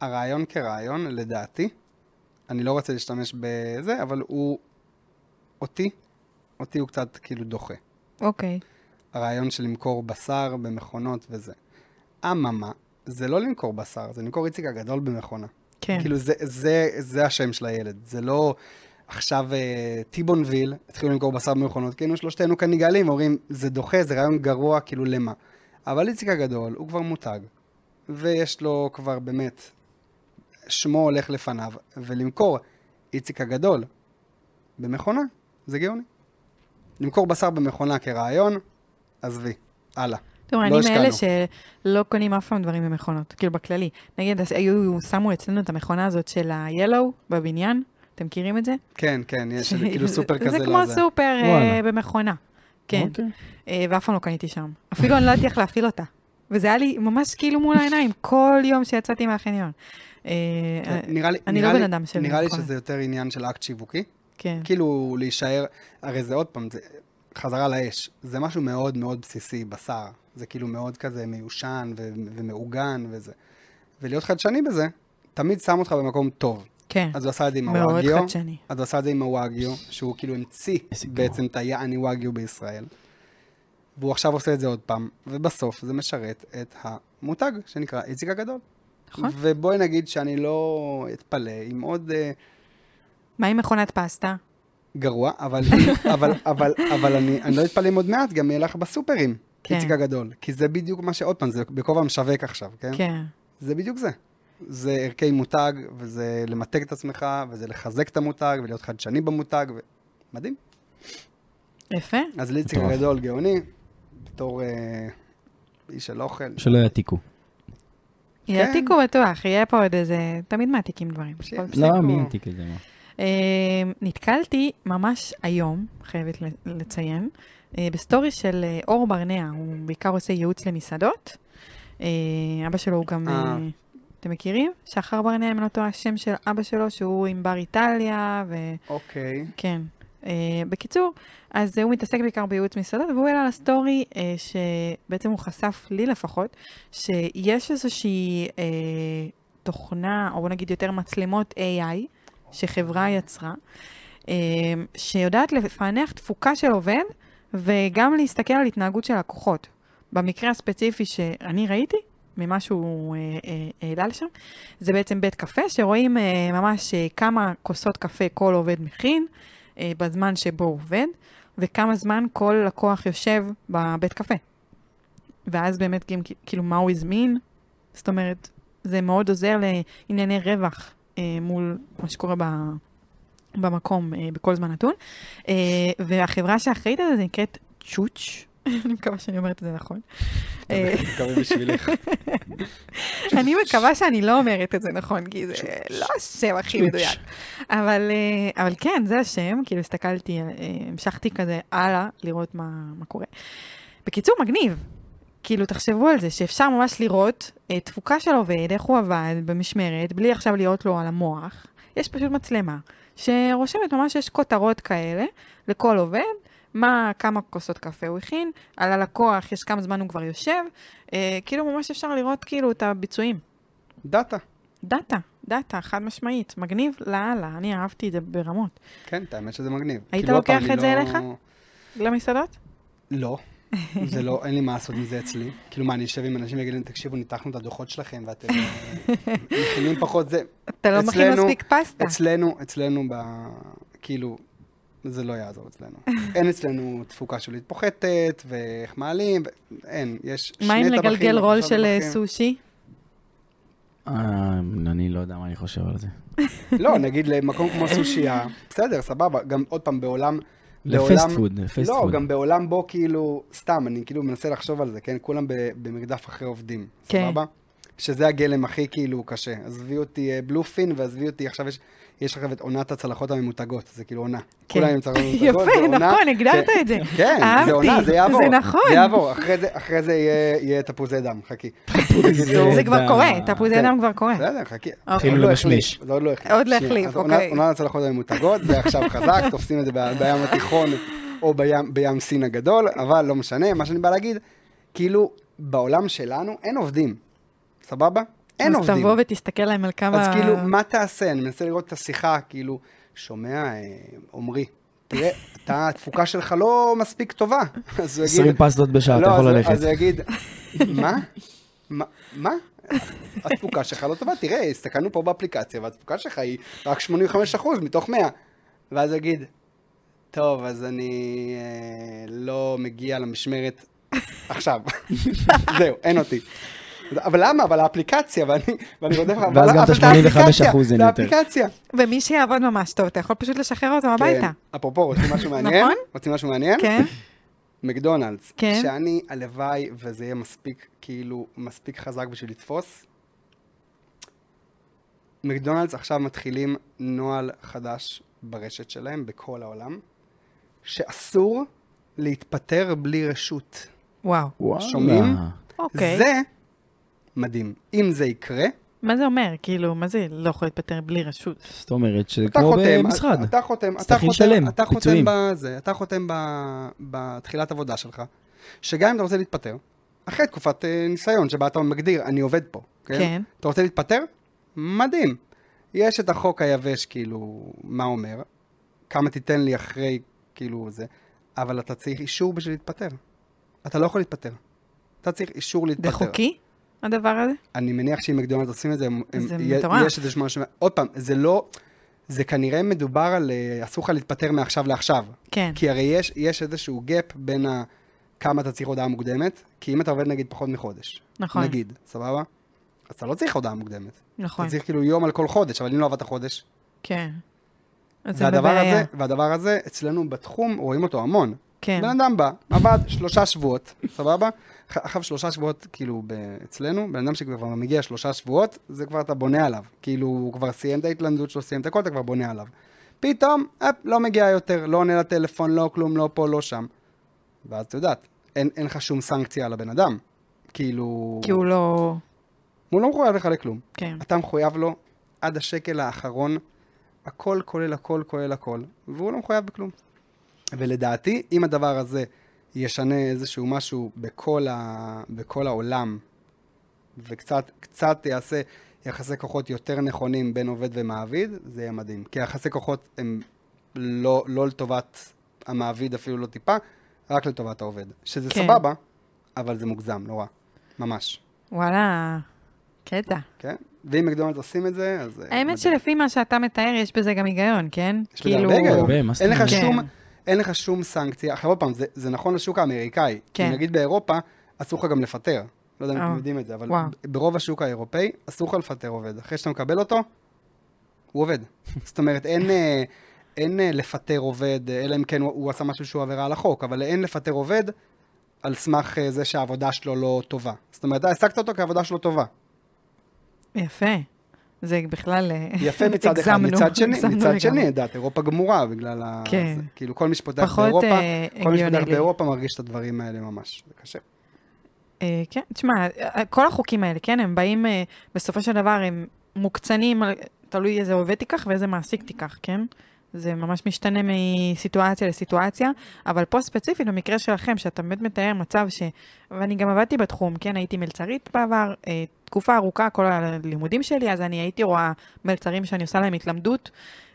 הרעיון כרעיון, לדעתי, אני לא רוצה להשתמש בזה, אבל הוא, אותי, אותי הוא קצת כאילו דוחה.
אוקיי.
הרעיון של למכור בשר במכונות וזה. אממה, זה לא למכור בשר, זה למכור איציק הגדול במכונה.
כן.
כאילו, זה, זה, זה השם של הילד. זה לא עכשיו אה, טיבונוויל, התחילו למכור בשר במכונות, כאילו שלושתנו כאן נגעלים, אומרים, זה דוחה, זה רעיון גרוע, כאילו, למה? אבל איציק הגדול, הוא כבר מותג, ויש לו כבר באמת, שמו הולך לפניו, ולמכור איציק הגדול במכונה, זה גאוני. למכור בשר במכונה כרעיון, עזבי, הלאה.
תראו,
לא
אני מאלה
השקענו.
שלא קונים אף פעם דברים במכונות, כאילו בכללי. נגיד, אז היו, שמו אצלנו את המכונה הזאת של ה-Yellow בבניין, אתם מכירים את זה?
כן, כן, יש כאילו סופר
זה-
כזה
זה כמו
לזה.
סופר אה,
וואלה.
במכונה. כן,
אוקיי.
אה, ואף פעם לא קניתי שם. אפילו אני לא יודעת איך להפעיל אותה. וזה היה לי ממש כאילו מול העיניים, כל יום שיצאתי מהחניון. אה, אה,
כן. נראה לי,
אני לא
נראה לי-
בן אדם של
נראה לי
מכונה.
שזה יותר עניין של אקט שיווקי.
כן,
כאילו להישאר, הרי זה עוד פעם, זה חזרה לאש. זה משהו מאוד מאוד בסיסי, בשר. זה כאילו מאוד כזה מיושן ו- ומעוגן וזה. ולהיות חדשני בזה, תמיד שם אותך במקום טוב.
כן,
אז הוא עשה את זה עם
מאוד
הוואגיו.
חדשני.
אז הוא עשה את זה עם הוואגיו, שהוא כאילו המציא
איזה גרוע.
בעצם את היעני וואגיו בישראל. והוא עכשיו עושה את זה עוד פעם, ובסוף זה משרת את המותג שנקרא איציק הגדול.
נכון.
ובואי נגיד שאני לא אתפלא אם עוד אה,
מה עם מכונת פסטה?
גרוע, אבל, אבל, אבל, אבל אני, אני לא אתפלא אם עוד מעט גם יהיה לך בסופרים,
כן.
כן. איציק הגדול. כי זה בדיוק מה שעוד פעם, זה בכובע המשווק עכשיו, כן? כן.
כן.
זה בדיוק זה. זה ערכי מותג, וזה למתג את עצמך, וזה לחזק את המותג, ולהיות חדשני במותג, ו... מדהים.
יפה.
אז לאיציק
מטורף.
הגדול גאוני, בתור אה, איש של אוכל,
שלא יעתיקו.
כן.
יעתיקו בטוח, יהיה פה עוד איזה... תמיד מעתיקים דברים.
שיהיה
הכל
לא,
הפסיקו.
מי יעתיק את זה? מה?
אה, נתקלתי ממש היום, חייבת ל- לציין, אה, בסטורי של אה, אור ברנע, הוא בעיקר עושה ייעוץ למסעדות. אה, אבא שלו הוא גם,
אה.
אה, אתם מכירים? שחר ברנע, אם אני לא טועה, השם של אבא שלו, שהוא עם בר איטליה,
אוקיי.
וכן. אה, בקיצור, אז אה, הוא מתעסק בעיקר בייעוץ מסעדות, והוא העלה לסטורי, אה, שבעצם הוא חשף לי לפחות, שיש איזושהי אה, תוכנה, או בוא נגיד יותר מצלמות AI, שחברה יצרה, אה, שיודעת לפענח תפוקה של עובד, וגם להסתכל על התנהגות של לקוחות. במקרה הספציפי שאני ראיתי, ממה שהוא אה, אה, העלה לשם, זה בעצם בית קפה, שרואים אה, ממש אה, כמה כוסות קפה כל עובד מכין, אה, בזמן שבו הוא עובד, וכמה זמן כל לקוח יושב בבית קפה. ואז באמת גם כ- כאילו מה הוא הזמין, זאת אומרת, זה מאוד עוזר לענייני רווח אה, מול מה שקורה ב... במקום אה, בכל זמן נתון. אה, והחברה שאחראית על זה נקראת צ'וץ', אני מקווה שאני אומרת את זה נכון. אה,
מקווה בשבילך.
אני מקווה שאני לא אומרת את זה נכון, כי זה לא השם הכי מדויק. אבל, אה, אבל כן, זה השם, כאילו הסתכלתי, אה, המשכתי כזה הלאה לראות מה, מה קורה. בקיצור, מגניב. כאילו, תחשבו על זה, שאפשר ממש לראות אה, תפוקה של עובד, איך הוא עבד במשמרת, בלי עכשיו להיות לו על המוח. יש פשוט מצלמה, שרושמת ממש, יש כותרות כאלה לכל עובד, מה, כמה כוסות קפה הוא הכין, על הלקוח, יש כמה זמן הוא כבר יושב, אה, כאילו ממש אפשר לראות כאילו את הביצועים.
דאטה,
דאטה, דאטה, חד משמעית, מגניב לאללה, אני אהבתי את זה ברמות.
כן, את האמת שזה מגניב.
היית
כאילו, עוד פעם,
לוקח
אני
את זה
לא-
אליך? למסעדות?
לא. זה לא, אין לי מה לעשות עם זה אצלי. כאילו, מה, אני אשב עם אנשים ויגיד להם, תקשיבו, ניתחנו את הדוחות שלכם, ואתם אה, מכינים פחות זה.
אתה לא מכין
אצלנו-
מספיק פסטה.
אצלנו, אצלנו, ב... כאילו, זה לא יעזור אצלנו. אין אצלנו תפוקה שולית פוחתת, ואיך מעלים, ו- אין, יש שני
מה
טבחים.
אם לגלגל רול
שלושה
של אה,
טבחים.
סושי?
אה, אני לא יודע מה אני חושב על זה.
לא, נגיד למקום כמו סושייה, בסדר, סבבה. גם עוד פעם, בעולם...
לפסט
בעולם-
פוד, לפסט
לא,
פוד.
גם בעולם בו כאילו, סתם, אני כאילו מנסה לחשוב על זה, כן? כולם ב- במרדף אחרי עובדים,
כן.
סבבה? שזה הגלם הכי כאילו קשה. עזבי אותי אה, בלופין, ועזבי אותי, עכשיו יש, יש עכשיו את עונת הצלחות הממותגות, זה כאילו עונה.
כן.
כולם עם צלחות ממותגות, זה
יפה,
עונה.
נכון, הגדרת
כן.
את זה.
כן,
אהבתי,
זה עונה, זה יעבור.
זה נכון.
זה יעבור, אחרי זה, אחרי זה יהיה, יהיה תפוזי דם, חכי.
זה
זה כבר
ב-
קורה, תפוזי
כן.
דם כבר קורה.
בסדר, חכי.
התחילו
עוד לא
למשמש.
החליף, זה עוד
אה. אוקיי. עוד
לא החליף.
לא
שנייה,
החליף,
אז עונה-
אוקיי.
עונת הצלחות הממותגות, זה עכשיו חזק, תופסים את זה ב- בים התיכון או בים- בים סין הגדול, אבל לא משנה, מה שאני בא להגיד, כאילו, בעולם שלנו אין עובדים, סבבה? אין עובדים.
אז תבוא ותסתכל להם על כמה...
אז כאילו, מה תעשה? אני מנסה לראות את השיחה, כאילו, שומע, אה, עמרי, תראה, אתה, התפוקה שלך לא מספיק טובה. אז הוא יגיד...
20 פסטות בשעה, אתה
לא,
יכול
אז-
ללכת.
אז הוא יגיד, מה? מה? מה? התפוקה שלך לא טובה, תראה, הסתכלנו פה באפליקציה, והתפוקה שלך היא רק 85% מתוך 100. ואז הוא יגיד, טוב, אז אני אה, לא מגיע למשמרת עכשיו. זהו, אין אותי. אבל למה? אבל האפליקציה, ואני ואני רודף לך,
ואז
אבל-
גם את
אבל
ה-85% אין
זה
יותר.
האפליקציה.
ומי שיעבוד ממש טוב, אתה יכול פשוט לשחרר אותו הביתה.
כן. אפרופו, רוצים משהו מעניין?
נכון?
רוצים משהו מעניין?
כן?
מקדונלדס.
כן.
שאני, הלוואי וזה יהיה מספיק, כאילו, מספיק חזק בשביל לתפוס. מקדונלדס עכשיו מתחילים נוהל חדש ברשת שלהם, בכל העולם, שאסור להתפטר בלי רשות.
וואו.
וואלה.
שומעים?
אוקיי.
זה מדהים. אם זה יקרה,
מה זה אומר? כאילו, מה זה לא יכול להתפטר בלי רשות?
זאת אומרת
אתה
שכמו
חותם,
במשרד.
אתה חותם, אתה
תצטרכי
חותם,
לשלם,
אתה חותם
פיצויים.
בזה, אתה חותם ב- בתחילת עבודה שלך, שגם אם אתה רוצה להתפטר, אחרי תקופת אה, ניסיון שבה אתה מגדיר, אני עובד פה, כן?
כן.
אתה רוצה להתפטר? מדהים. יש את החוק היבש, כאילו, מה אומר, כמה תיתן לי אחרי, כאילו, זה, אבל אתה צריך אישור בשביל להתפטר. אתה לא יכול להתפטר. אתה צריך אישור להתפטר.
זה חוקי, הדבר הזה?
אני מניח שאם מקדונלדס עושים את זה, הם,
זה
הם,
מטורף.
יש איזה שמונה שנים. עוד פעם, זה לא, זה כנראה מדובר על אה, אסור לך להתפטר מעכשיו לעכשיו.
כן.
כי הרי יש, יש איזשהו גאפ בין ה, כמה אתה צריך הודעה מוקדמת, כי אם אתה עובד נגיד פחות מחודש,
נכון.
נגיד, סבבה? אז אתה לא צריך הודעה מוקדמת.
נכון.
אתה צריך כאילו יום על כל חודש, אבל אם לא עבדת חודש.
כן. אז זה
והדבר
בבעיה.
הזה, לא, והדבר הזה, אצלנו בתחום רואים אותו המון.
כן.
בן אדם בא, עבד שלושה שבועות, סבבה? ח- אחרי שלושה שבועות, כאילו, ב- אצלנו, בן אדם שכבר מגיע שלושה שבועות, זה כבר אתה בונה עליו. כאילו, הוא כבר סיים את ההתלמדות שלו, סיים את הכל, אתה כבר בונה עליו. פתאום, אפ, לא מגיע יותר, לא עונה לטלפון, לא כלום, לא פה, לא שם. ואז את יודעת, אין, אין לך שום סנקציה על הבן אדם. כאילו,
כי הוא לא...
הוא לא מחויב לך לכלום.
כן.
אתה מחויב לו עד השקל האחרון, הכל כולל הכל כולל הכל, והוא לא מחויב בכלום. ולדעתי, אם הדבר הזה ישנה איזשהו משהו בכל, ה... בכל העולם, וקצת קצת יעשה יחסי כוחות יותר נכונים בין עובד ומעביד, זה יהיה מדהים. כי יחסי כוחות הם לא, לא לטובת המעביד אפילו לא טיפה, רק לטובת העובד. שזה
כן.
כן. סבבה, אבל זה מוגזם, נורא. ממש.
וואלה, קטע.
כן? ואם מקדונלדס עושים את זה, אז... אה, מדהים.
האמת שלפי מה שאתה מתאר, יש בזה גם היגיון, כן?
יש בזה הרבה היגיון.
הרבה, מה זאת
אין לך
אומרת?
שום...
כן.
אין לך שום סנקציה. עכשיו עוד פעם, זה, זה נכון לשוק האמריקאי.
כן.
כן. נגיד באירופה, אסור לך גם לפטר. לא יודע אם
אה.
אתם יודעים את זה, אבל
וואו.
ב- ברוב השוק האירופאי, אסור לך לפטר עובד. אחרי שאתה מקבל אותו, הוא עובד. זאת אומרת, אין, אה, אין אה, לפטר עובד, אה, אלא אם כן הוא, הוא עשה משהו שהוא עבירה על החוק, אבל אין לפטר עובד על סמך אה, זה שהעבודה שלו לא טובה. זאת אומרת, אתה העסקת אותו כי העבודה שלו טובה.
יפה. זה בכלל... אה,
יפה מצד אחד,
הגזמנו,
מצד שני,
הגזמנו
מצד
לגמרי.
שני, דעת, אירופה גמורה בגלל ה...
כן.
זה, כאילו, כל מי שפותח
פחות
באירופה,
אה,
כל מי
הגיוני
שפותח
לי.
באירופה מרגיש את הדברים האלה ממש, זה קשה.
אה, כן, תשמע, אה, כל החוקים האלה, כן, הם באים, אה, בסופו של דבר הם מוקצנים, על- תלוי איזה עובד תיקח ואיזה מעסיק תיקח, כן? זה ממש משתנה מסיטואציה לסיטואציה, אבל פה ספציפית, במקרה שלכם, שאתה באמת מתאר מצב ש... ואני גם עבדתי בתחום, כן, הייתי מלצרית בעבר, אה, תקופה ארוכה, כל הלימודים שלי, אז אני הייתי רואה מלצרים שאני עושה להם התלמדות,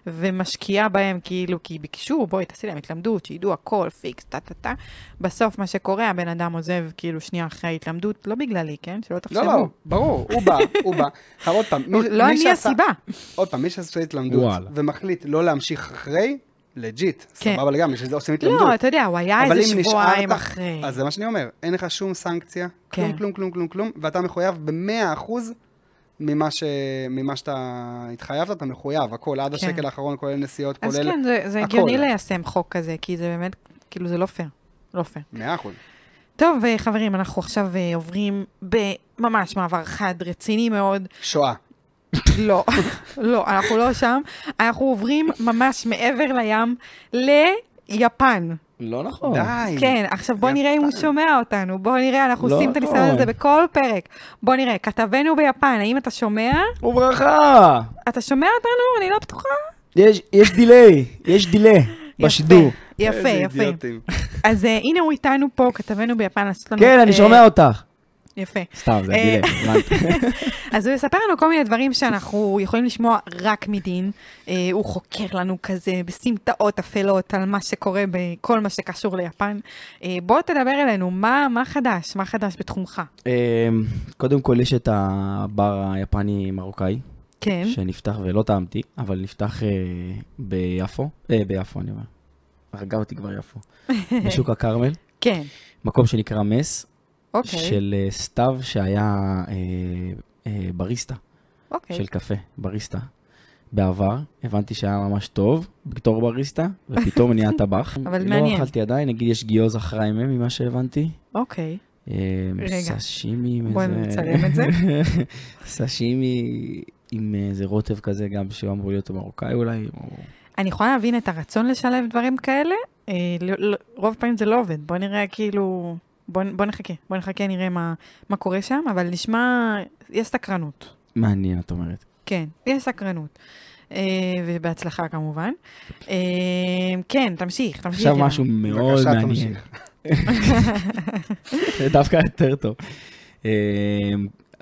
ומשקיעה בהם, כאילו, כי ביקשו, בואי, תעשי להם התלמדות, שידעו הכל, פיקס, טה-טה-טה. בסוף, מה שקורה, הבן אדם עוזב, כאילו, שנייה אחרי ההתלמדות, לא בגללי, כן? שלא תחשבו.
לא, לא, ברור, הוא בא, הוא בא. עכשיו עוד פעם, מי-
הוא- לא
מי
אני
שעשה-
הסיבה.
עוד פעם, מי שעשה התלמדות
וואלה.
ומחליט לא להמשיך אחרי, לג'יט,
כן.
סבבה לגמרי, שזה עושים התלמדות.
לא, אתה יודע, הוא היה
אבל
איזה
אם
שבועיים
נשארת-
אחרי.
אז זה מה שאני אומר, אין לך שום סנקציה, כלום,
כן.
כלום, כלום, כלום, כלום, ואתה מחויב ב-100% ממה, ש... ממה שאתה התחייבת, אתה מחויב, הכל, עד
כן.
השקל האחרון, כולל נסיעות,
אז
כולל...
כן, זה- זה
הכל.
הגיוני ליישם חוק כזה, כי זה באמת, כאילו, זה לא פייר. לא פייר.
100%.
טוב, אה, חברים, אנחנו עכשיו אה, עוברים בממש מעבר חד, רציני מאוד.
שואה.
לא, לא, אנחנו לא שם. אנחנו עוברים ממש מעבר לים ליפן.
לא נכון.
די.
כן, עכשיו בוא נראה אם הוא שומע אותנו. בוא נראה, אנחנו
לא
עושים את הניסיון הזה
נכון.
בכל פרק. בוא נראה, כתבנו ביפן, האם אתה שומע?
וברכה!
אתה שומע אותנו? אני לא בטוחה.
יש יש דיליי, יש דיליי בשידור.
יפה, יפה, יפה. אז אה, הנה הוא איתנו פה, כתבנו ביפן, לעשות לנו...
כן, אני
אה,
שומע אותך.
יפה.
סתם, זה
אה,
הדילה, הבנתי.
אז הוא יספר לנו כל מיני דברים שאנחנו יכולים לשמוע רק מדין. אה, הוא חוקר לנו כזה בסמטאות אפלות על מה שקורה בכל מה שקשור ליפן. אה, בוא תדבר אלינו, מה, מה חדש? מה חדש בתחומך?
אמ, קודם כל יש את הבר היפני-מרוקאי,
כן.
שנפתח, ולא טעמתי, אבל נפתח אה, ביפו, אה, ביפו אני אומר. הרגה אותי כבר יפו. בשוק הכרמל,
כן,
מקום שנקרא מס,
אוקיי.
של אה, סתיו שהיה אה, אה, בריסטה.
אוקיי.
של קפה, בריסטה. בעבר, הבנתי שהיה ממש טוב בתור בריסטה, ופתאום נהיה טבח.
אבל מעניין.
לא אכלתי עדיין, נגיד יש גיוזה חריימה ממה שהבנתי.
אוקיי.
אה,
רגע.
סשימי עם
בואי
איזה...
נצלם את זה.
סשימי עם איזה רוטב כזה גם, שאמור להיות מרוקאי אולי. או...
אני יכולה להבין את הרצון לשלב דברים כאלה, אה, לא- לא- רוב פעמים זה לא עובד. בוא נראה כאילו... בוא, בוא נחכה, בוא נחכה, נראה מה, מה קורה שם, אבל נשמע, יש סקרנות.
מעניין, את אומרת.
כן, יש סקרנות. אה, ובהצלחה כמובן. אה, כן, תמשיך, תמשיך.
עכשיו
ירון.
משהו מאוד
בבקשה,
מעניין.
תמשיך.
זה דווקא יותר טוב. אה,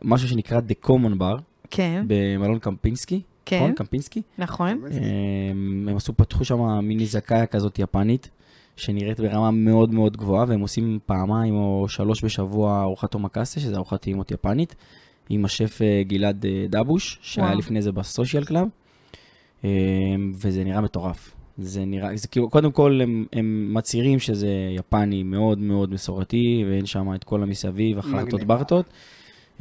משהו שנקרא The Common Bar,
כן,
במלון קמפינסקי.
כן.
נכון, קמפינסקי.
נכון.
אמ, הם הם עשו, פתחו שם מיני זכאיה כזאת יפנית, שנראית ברמה מאוד מאוד גבוהה, והם עושים פעמיים או שלוש בשבוע ארוחת אומקאסה, שזה ארוחת טעימות יפנית, עם השף אה, גלעד אה, דבוש, שהיה
וואו.
לפני זה בסושיאל קלאב, אה, וזה נראה מטורף. זה נראה, זה כאילו, קודם כל הם, הם מצהירים שזה יפני מאוד מאוד מסורתי, ואין שם את כל המסביב, החלטות
מגניב.
ברטות.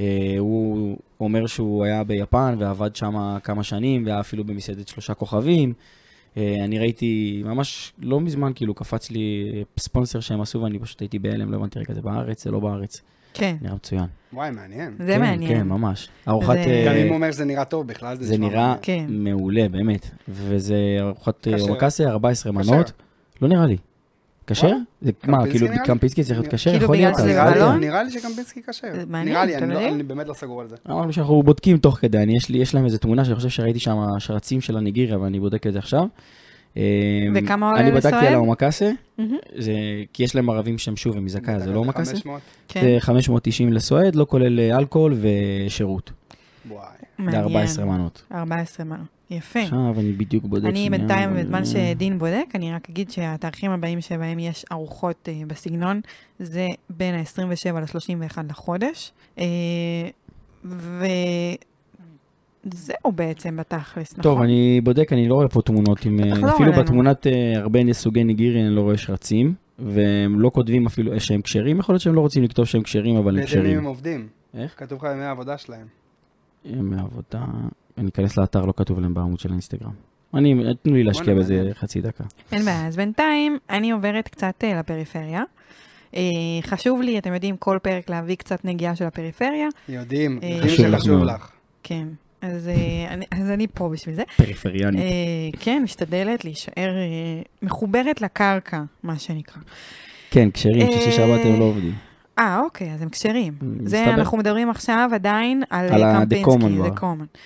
אה, הוא אומר שהוא היה ביפן ועבד שם כמה שנים, והיה אפילו במסעדת שלושה כוכבים. אה, אני ראיתי, ממש לא מזמן, כאילו, קפץ לי אה, ספונסר שהם עשו, ואני פשוט הייתי בהלם, לא הבנתי רגע, זה בארץ, זה לא בארץ.
כן,
נראה מצוין.
וואי, מעניין.
זה
כן,
מעניין.
כן, ממש. ארוחת...
זה-
אה,
גם אם הוא אומר שזה נראה טוב בכלל, זה
זה
נשמע
נראה
מעניין.
כן.
מעולה, באמת. וזה ארוחת אה,
כשר.
אורקסיה, 14
כשר.
מנות. לא נראה לי. כשר?
וואלה?
זה- מה,
קמפינסקי
כאילו,
נראה לי?
קמפינסקי צריך להיות
נראה-
כשר?
כאילו,
יכול
בגלל
להיות.
שזה
אני לא יודע.
בלון?
נראה לי שקמפינסקי כשר.
זה מעניין,
נראה לי,
אתה
אני לא-
מבין?
אני באמת לא סגור על זה.
כן. אמרנו שאנחנו בודקים תוך כדי, אני, יש, לי, יש להם איזו תמונה שאני חושב שראיתי שם שרצים של הניגיריה, ואני בודק את זה עכשיו. אמ,
וכמה עולה
אני בדקתי
לסואל?
על האומקאסה,
מהמם.
זה, כי יש להם ערבים שהם שוב עם מזכאיה, זה לא אומקאסה?
500?
כן,
זה 590 לסועד, לא כולל אה, אלכוהול ושירות.
וואי.
זה
מעניין.
14 מנות.
14 מנות. יפה.
עכשיו אני בדיוק בודק.
אני
שנייה,
בינתיים,
אה,
בזמן שדין בודק, אני רק אגיד שהתאריכים הבאים שבהם יש ארוחות אה, בסגנון, זה בין ה-27 ל-31 לחודש. אה, וזהו בעצם בתכלס, נכון?
טוב, אני בודק, אני לא רואה פה תמונות עם...
תחזור
אפילו
אלינו.
בתמונת אה, הרבה סוגי ניגירי אני לא רואה שרצים, והם לא כותבים אפילו אה, שהם כשרים, יכול להיות שהם לא רוצים לכתוב שהם כשרים, אבל הם
באיזה ימים
כשרים.
הם עובדים?
לא איך?
כתוב לך ימי העבודה שלהם.
ימי עבודה, אני אכנס לאתר, לא כתוב להם בעמוד של האינסטגרם. אני, אה, תנו לי להשקיע
בואנה,
בזה
מעניין.
חצי דקה.
אין בעיה, אז בינתיים אני עוברת קצת אה, לפריפריה. אה, חשוב לי, אתם יודעים, כל פרק להביא קצת נגיעה של הפריפריה.
יודעים,
אה,
יודעים
חשוב לך
שחשוב
מאוד.
לך.
כן, אז, אה, אני, אז אני פה בשביל זה.
פריפריאני.
אה, כן, משתדלת להישאר אה, מחוברת לקרקע, מה שנקרא.
כן, כשרים,
אה,
שישי שבת הם לא עובדים.
אה, אוקיי, אז הם כשרים.
Mm,
זה,
מסתבר.
אנחנו מדברים עכשיו עדיין על,
על
אה,
ה- The
קמפינסקי,
Common
The
Bar.
Common.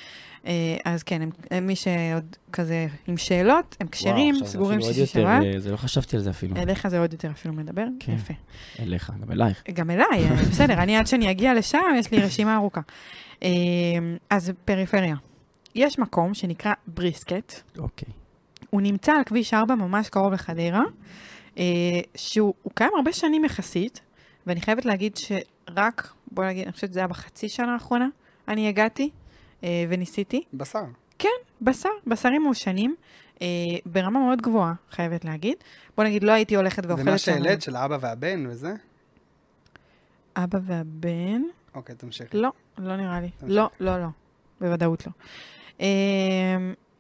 אה, אז כן, הם- הם- מי שעוד כזה עם שאלות, הם כשרים, סגורים אה, שישי שבת.
אה,
זה לא חשבתי על זה אפילו.
אליך זה עוד יותר אפילו מדבר,
כן.
יפה.
אליך, גם אלייך.
גם אליי, אה, בסדר, אני עד שאני אגיע לשם, יש לי רשימה ארוכה. אה, אז פריפריה. יש מקום שנקרא בריסקט,
אוקיי.
הוא נמצא על כביש 4 ממש קרוב לחדרה, אה, שהוא הוא קיים הרבה שנים יחסית, ואני חייבת להגיד שרק, בוא נגיד, אני חושבת שזה היה בחצי שנה האחרונה, אני הגעתי אה, וניסיתי.
בשר.
בשר, בשרים מעושנים, אה, ברמה מאוד גבוהה, חייבת להגיד. בוא נגיד, לא הייתי הולכת
זה
ואוכלת
מה
שם-
שהעלית של האבא והבן וזה?
אבא והבן,
אוקיי, תמשיך.
לא, לא נראה לי.
תמשיך.
לא, לא, לא. בוודאות לא. אמ,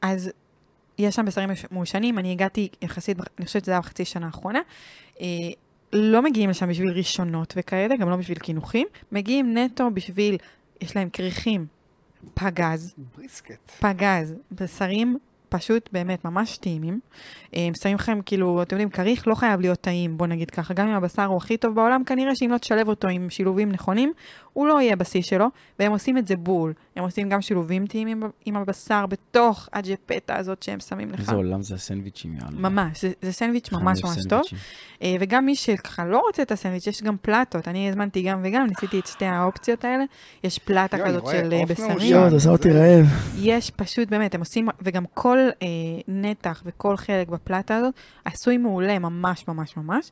אז יש שם בשרים מש- מעושנים, אני הגעתי יחסית, בח- אני חושבת שזה היה בחצי שנה האחרונה. אה, לא מגיעים לשם בשביל ראשונות וכאלה, גם לא בשביל קינוחים. מגיעים נטו בשביל, יש להם כריכים, פגז,
בריסקט.
אה, פגז, בשרים פשוט באמת ממש טעימים. אה, הם שמים לכם כאילו, אתם יודעים, כריך לא חייב להיות טעים, בוא נגיד ככה. גם אם הבשר הוא הכי טוב בעולם, כנראה שאם לא תשלב אותו עם שילובים נכונים, הוא לא יהיה בשיא שלו, והם עושים את זה בול. הם עושים גם שילובים טעימים עם- עם הבשר בתוך הג'פטה הזאת שהם שמים לך.
איזה עולם זה הסנדוויצ'ים, יאללה.
ממש, זה, זה סנדוויץ'
חמש
ממש ממש טוב.
סנדוויצ'ים.
אה, וגם מי שככה לא רוצה את הסנדוויץ', יש גם פלטות. אני הזמנתי גם וגם, ניסיתי את שתי האופציות האלה. יש פלטה
יואי,
כזאת
רואה,
של אה,
עוף
בשרים.
מאושר.
יואו, אתה עושה אותי רעב.
יש פשוט, באמת, הם עושים, וגם כל אה, נתח וכל חלק בפלטה הזאת עשוי מעולה, ממש ממש ממש.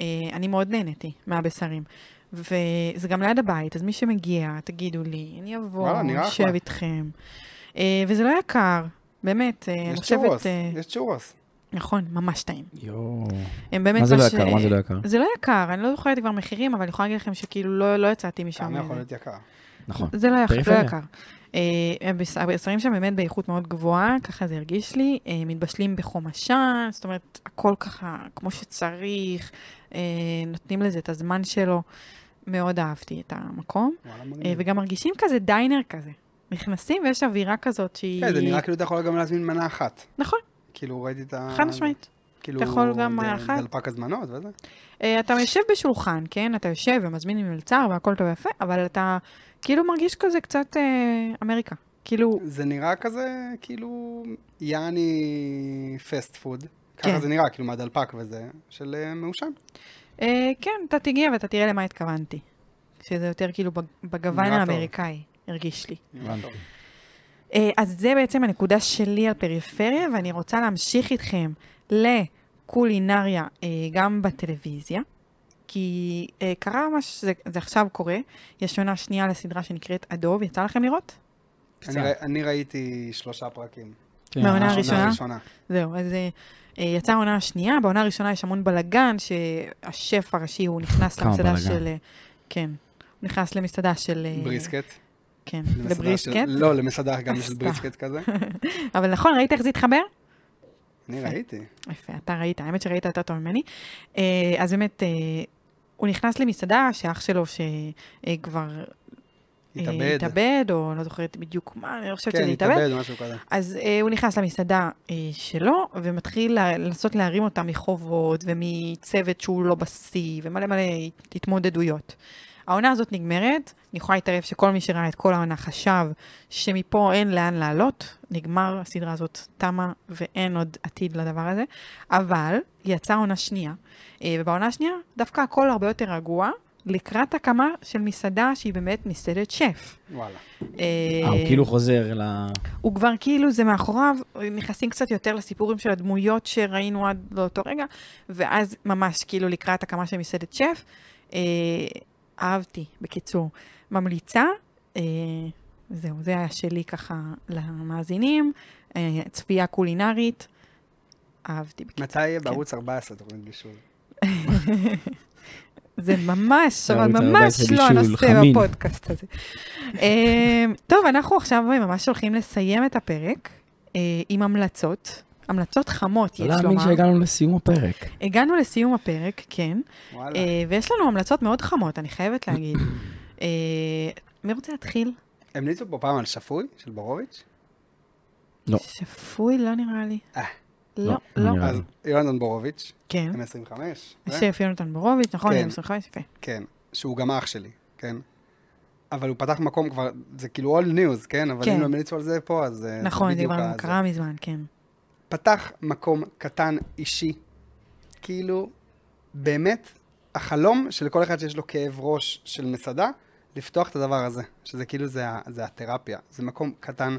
אה, אני מאוד נהניתי מהבשרים. וזה גם ליד הבית, אז מי שמגיע, תגידו לי, אני אבוא,
וואלה, נראה
אשב
אחלה.
איתכם. אה, וזה לא יקר, באמת, אה, אני
יש
חושבת...
צ'ורוס,
אה,
יש צ'ורוס.
נכון, ממש טעים.
יואו.
הם באמת
מה זה לא
ש-
יקר? מה זה לא יקר?
זה לא יקר, אני לא זוכרת כבר מחירים, אבל אני יכולה להגיד לכם שכאילו לא, לא יצאתי משם.
כמה יכול להיות יקר.
נכון.
זה לא, יח... לא
פריפריה.
יקר. אה, הבש- הבשרים שם באמת באיכות מאוד גבוהה, ככה זה הרגיש לי. אה, מתבשלים בחום עשן, זאת אומרת, הכל ככה כמו שצריך, אה, נותנים לזה את הזמן שלו. מאוד אהבתי את המקום,
וואלה,
אה,
מגניב.
וגם מרגישים כזה דיינר כזה. נכנסים ויש אווירה כזאת שהיא...
כן, זה נראה כאילו אתה יכול גם להזמין מנה אחת.
נכון,
כאילו ראיתי את ה...
חד משמעית.
כאילו,
אתה יכול גם מנה
דל-
אחת.
דלפק הזמנות וזה.
אה, אתה יושב בשולחן, כן? אתה יושב ומזמין עם מלצר והכל טוב ויפה, אבל אתה כאילו מרגיש כזה קצת אה, אמריקה. כאילו,
זה נראה כזה, כאילו, יעני פסט פוד.
כן.
ככה זה נראה, כאילו, מהדלפק וזה, של אה, מעושן.
אה, כן, אתה תגיע ואתה תראה למה התכוונתי. שזה יותר כאילו בג- בגוון
נראה טוב.
האמריקאי, הרגיש לי.
הבנתי.
אה, אז זה בעצם הנקודה שלי על פריפריה, ואני רוצה להמשיך איתכם לקולינריה אה, גם בטלוויזיה, כי אה, קרה מה שזה זה עכשיו קורה, יש עונה שנייה לסדרה שנקראת הדוב, יצא לכם לראות?
אני ר- אני ראיתי שלושה פרקים.
כן,
מהעונה
ממש.
הראשונה?
הראשונה.
זהו, אז אה, אה, יצאה העונה השנייה, בעונה הראשונה יש המון בלאגן, שהשף הראשי הוא נכנס
כמה
למסעדה
בלגן.
של... אה, כן, הוא נכנס למסעדה של... אה,
בריסקט.
כן,
למסעדה
לבריסקט.
של- לא, למסעדה גם של
עשתה.
בריסקט כזה.
אבל נכון, ראית איך זה התחבר?
אני ראיתי.
יפה, אתה ראית, האמת שראית יותר טוב ממני. אה, אז באמת, אה, הוא נכנס למסעדה שאח שלו שכבר
התאבד.
אה, התאבד, או לא זוכרת בדיוק מה, אני לא חושבת
כן,
שזה התאבד.
התאבד או משהו כזה.
אז אה, הוא נכנס למסעדה אה, שלו, ומתחיל לה- לנסות להרים אותה מחובות ומצוות שהוא לא בשיא, ומלא מלא התמודדויות. העונה הזאת נגמרת, אני יכולה להתערב שכל מי שראה את כל העונה חשב שמפה אין לאן לעלות, נגמר, הסדרה הזאת תמה ואין עוד עתיד לדבר הזה, אבל יצאה עונה שנייה, אה, ובעונה השנייה דווקא הכל הרבה יותר רגוע, לקראת הקמה של מסעדה שהיא באמת מסעדת שף.
וואלה.
אה, הוא כאילו חוזר ל...
הוא כבר כאילו, זה מאחוריו, נכנסים קצת יותר לסיפורים של הדמויות שראינו עד לאותו רגע, ואז ממש כאילו לקראת הקמה של מסעדת שף. אה, אהבתי, בקיצור. ממליצה, אה, זהו, זה היה שלי ככה למאזינים, אה, צפייה קולינרית, אהבתי.
מתי יהיה
כן.
בערוץ 14 תוכנית בישול?
זה ממש, אבל
בערוץ 14
ממש לא
בישול,
הנושא
חמין.
בפודקאסט הזה. אה, טוב, אנחנו עכשיו ממש הולכים לסיים את הפרק אה, עם המלצות. המלצות חמות,
לא
יש כן.
להאמין
לומר.
שהגענו לסיום הפרק.
הגענו לסיום הפרק, כן,
וואלה.
אה, ויש לנו המלצות מאוד חמות, אני חייבת להגיד. אה, מי רוצה להתחיל?
המליצו פה פעם על שפוי של בורוביץ'?
לא.
שפוי, לא נראה לי.
אה.
לא,
לא
לא.
נראה.
אז יונתן בורוביץ',
כן,
M25. זה?
שף יונתן בורוביץ', נכון?
כן.
יום 25, יפה.
כן, שהוא גם אח שלי, כן? אבל הוא פתח מקום כבר, זה כאילו all news, כן? אבל
כן.
אם לא המליצו על זה פה, אז... אה,
נכון, זה
בדיוק
כבר
ה-
קרה מזמן, כן.
פתח מקום קטן אישי, כאילו, באמת, החלום של כל אחד שיש לו כאב ראש של מסעדה, לפתוח את הדבר הזה, שזה כאילו, זה, ה- זה התרפיה. זה מקום קטן,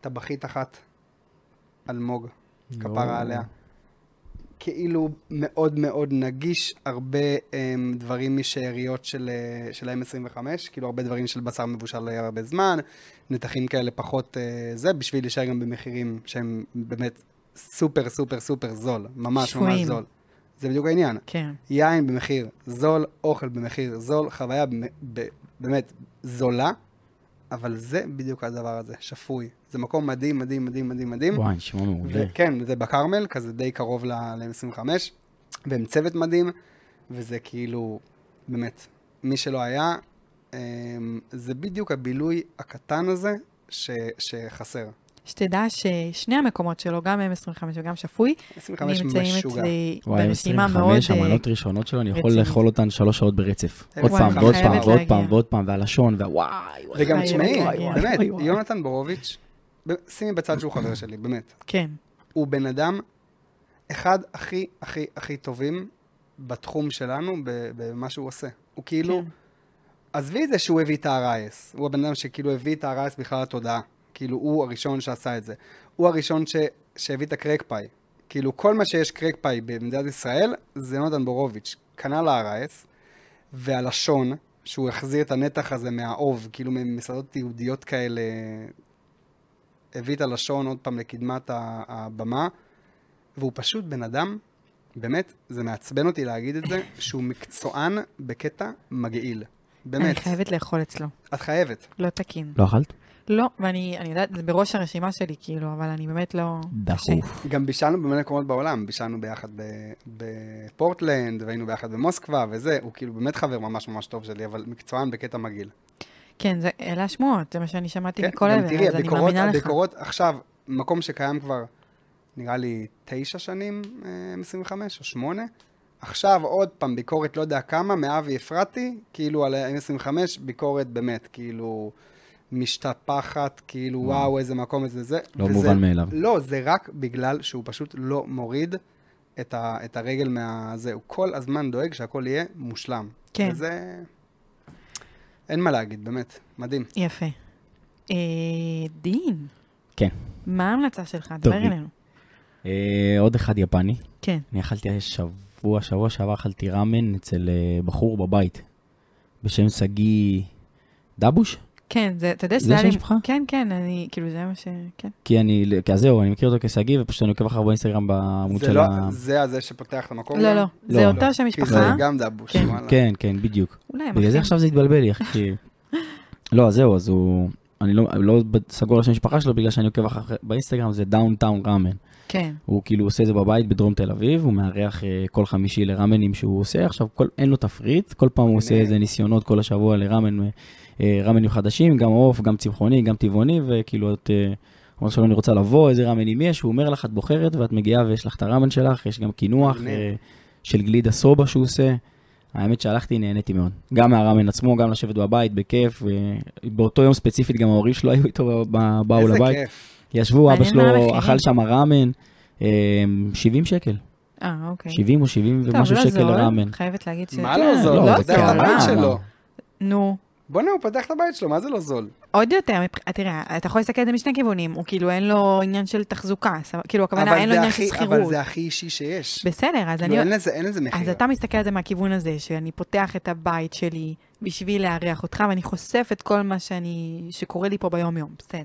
טבחית אחת, אלמוג,
יואו.
כפרה עליה. כאילו מאוד מאוד נגיש, הרבה הם, דברים משאריות של, אה, של ה-M25, כאילו הרבה דברים של בשר מבושל לא הרבה זמן, נתחים כאלה פחות אה, זה, בשביל להישאר גם במחירים שהם באמת סופר סופר סופר זול, ממש ממש
שפויים.
זול. זה בדיוק העניין.
כן,
יין במחיר זול, אוכל במחיר זול, חוויה במ- ב- באמת זולה, אבל זה בדיוק הדבר הזה, שפוי. זה מקום מדהים, מדהים, מדהים, מדהים, מדהים.
וואי, נשמע מעולה.
וכן, כן, זה בכרמל, כזה די קרוב ל-M25, והם צוות מדהים, וזה כאילו, באמת, מי שלא היה, אמ, זה בדיוק הבילוי הקטן הזה ש, שחסר.
שתדע ששני המקומות שלו, גם M25 וגם שפוי,
25
נמצאים
משוגע.
אצלי
וואי,
ברשימה מאוד...
25,
אה,
המנות ראשונות שלו, אני יכול
רצינית.
לאכול אותן שלוש שעות ברצף.
וואי,
עוד פעם,
אני
ועוד
חייבת
פעם, ועוד
להגיע.
פעם, ועוד פעם, והלשון, והוואי, וואי.
וגם
וואי,
תשמעי,
וואי, וואי,
באמת,
וואי, וואי.
יונתן בורוביץ', ב- שימי בצד שהוא חבר שלי, באמת.
כן.
הוא בן אדם אחד הכי הכי הכי טובים בתחום שלנו, ב- במה שהוא עושה. הוא כאילו,
כן.
עזבי את זה שהוא הביא את ה-RIS, הוא הבן אדם שכאילו הביא את ה-RIS בכלל לתודעה. כאילו, הוא הראשון שעשה את זה. הוא הראשון ש... שהביא את הקרק פאי. כאילו, כל מה שיש קרק פאי במדינת ישראל, זה יונתן בורוביץ'. כנ"ל ה-RIS, והלשון, שהוא החזיר את הנתח הזה מהאוב, כאילו ממסעדות יהודיות כאלה, הביא את הלשון עוד פעם לקדמת ה- הבמה, והוא פשוט בן אדם, באמת, זה מעצבן אותי להגיד את זה, שהוא מקצוען בקטע מגעיל.
אני
באמת.
חייבת לאכול אצלו,
את חייבת.
לא תקין.
לא אכלת?
לא, ואני אני יודעת, זה בראש הרשימה שלי, כאילו, אבל אני באמת לא...
דחוף.
גם בישלנו במלא מקומות בעולם, בישלנו ביחד ב- בפורטלנד, והיינו ביחד במוסקבה וזה, הוא כאילו באמת חבר ממש ממש טוב שלי, אבל מקצוען בקטע מגעיל.
כן, זה, אלה השמועות, זה מה שאני שמעתי
כן,
מכל
גם
אלה,
תראי,
אז אני
הביקורות,
מאמינה לך.
הביקורות עכשיו, מקום שקיים כבר, נראה לי, תשע שנים, אה, 25 או שמונה, עכשיו עוד פעם ביקורת לא יודע כמה, מאבי אפרתי, כאילו על ה-M25, ביקורת באמת, כאילו... משתפחת, כאילו
וואו.
וואו, איזה מקום, איזה זה.
לא
וזה-
מובן מאליו.
לא, זה רק בגלל שהוא פשוט לא מוריד את, ה, את הרגל מהזה. הוא כל הזמן דואג שהכל יהיה מושלם.
כן.
וזה... אין מה להגיד, באמת. מדהים.
יפה. אה, דין,
כן.
מה ההמלצה שלך?
טוב,
דבר אלינו.
אה, עוד אחד יפני.
כן.
אני אכלתי שבוע, שבוע שעבר אכלתי ראמן אצל אה, בחור בבית, בשם שגיא דבוש?
כן, זה, אתה יודע
זה
שזה היה
שם
לי...
משפחה?
כן, כן, אני, כאילו, זה מה ש... כן.
כי אני, כי אז זהו, אני מכיר אותו כשגיא, ופשוט אני עוקב אחריו באינסטגרם בעמוד
זה
של
לא,
ה...
זה הזה שפותח את המקום?
לא,
גם?
לא, זה
לא.
אותו שם
כי כאילו, זה
משפחה.
גם דבוש,
כן.
וואלה.
כן, כן, בדיוק.
אולי הם
בגלל זה
אחים.
עכשיו זה התבלבל לי, אחי. כי- לא, אז זהו, אז הוא... אני לא, לא ב- סגור על שם המשפחה שלו בגלל שאני עוקב אחרי... באינסטגרם זה דאונטאון ראמן.
כן,
הוא כאילו עושה את זה בבית בדרום תל אביב, הוא מארח אה, כל חמישי לראמנים שהוא עושה, עכשיו כל, אין לו תפריט, כל פעם הוא עושה
מגניב.
איזה ניסיונות כל השבוע לראמן, אה, אה, ראמנים חדשים, גם עוף, גם צמחוני, גם טבעוני, וכאילו את... אה, אומרת שלום, אני רוצה לבוא, איזה ראמנים יש, הוא אומר לך, את בוחרת ואת מגיעה ויש לך את הראמן שלך, יש גם קינוח
מגניב.
אה, של גלידה סובה שהוא עושה. האמת שהלכתי, נהניתי מאוד. גם מהראמן עצמו, גם לשבת בבית, בכיף. אה, באותו יום ספציפית, גם ההורים שלו היו איתו, ב- באו
איזה
לבית.
כיף.
ישבו, אבא
מעניין מה
שלו
המחירים.
אכל שם ראמן, אה, 70 שקל,
אה, אוקיי.
70 או 70
טוב,
ומשהו
לא
שקל
זול,
לראמן.
חייבת להגיד ש...
מה
כן,
לא זול?
לא,
הוא
זה
פותח את
קרה.
הבית שלו.
נו,
בוא'נה, הוא פתח את הבית שלו, מה זה לא זול?
עוד יותר, מבח- תראה, אתה יכול להסתכל על זה משני כיוונים, הוא כאילו אין לו עניין של תחזוקה, סבב- כאילו הכוונה
אבל
אין לו
זה
עניין של
הכי- אבל
שכירות.
זה הכי אישי שיש.
בסדר, אז
כאילו,
אני...
אין לזה- אין לזה
אז
מחיר.
אתה מסתכל על זה מהכיוון הזה, שאני פותח את הבית שלי בשביל לארח אותך, ואני חושף את כל מה שאני... שקורה לי פה ביום-יום, בסדר.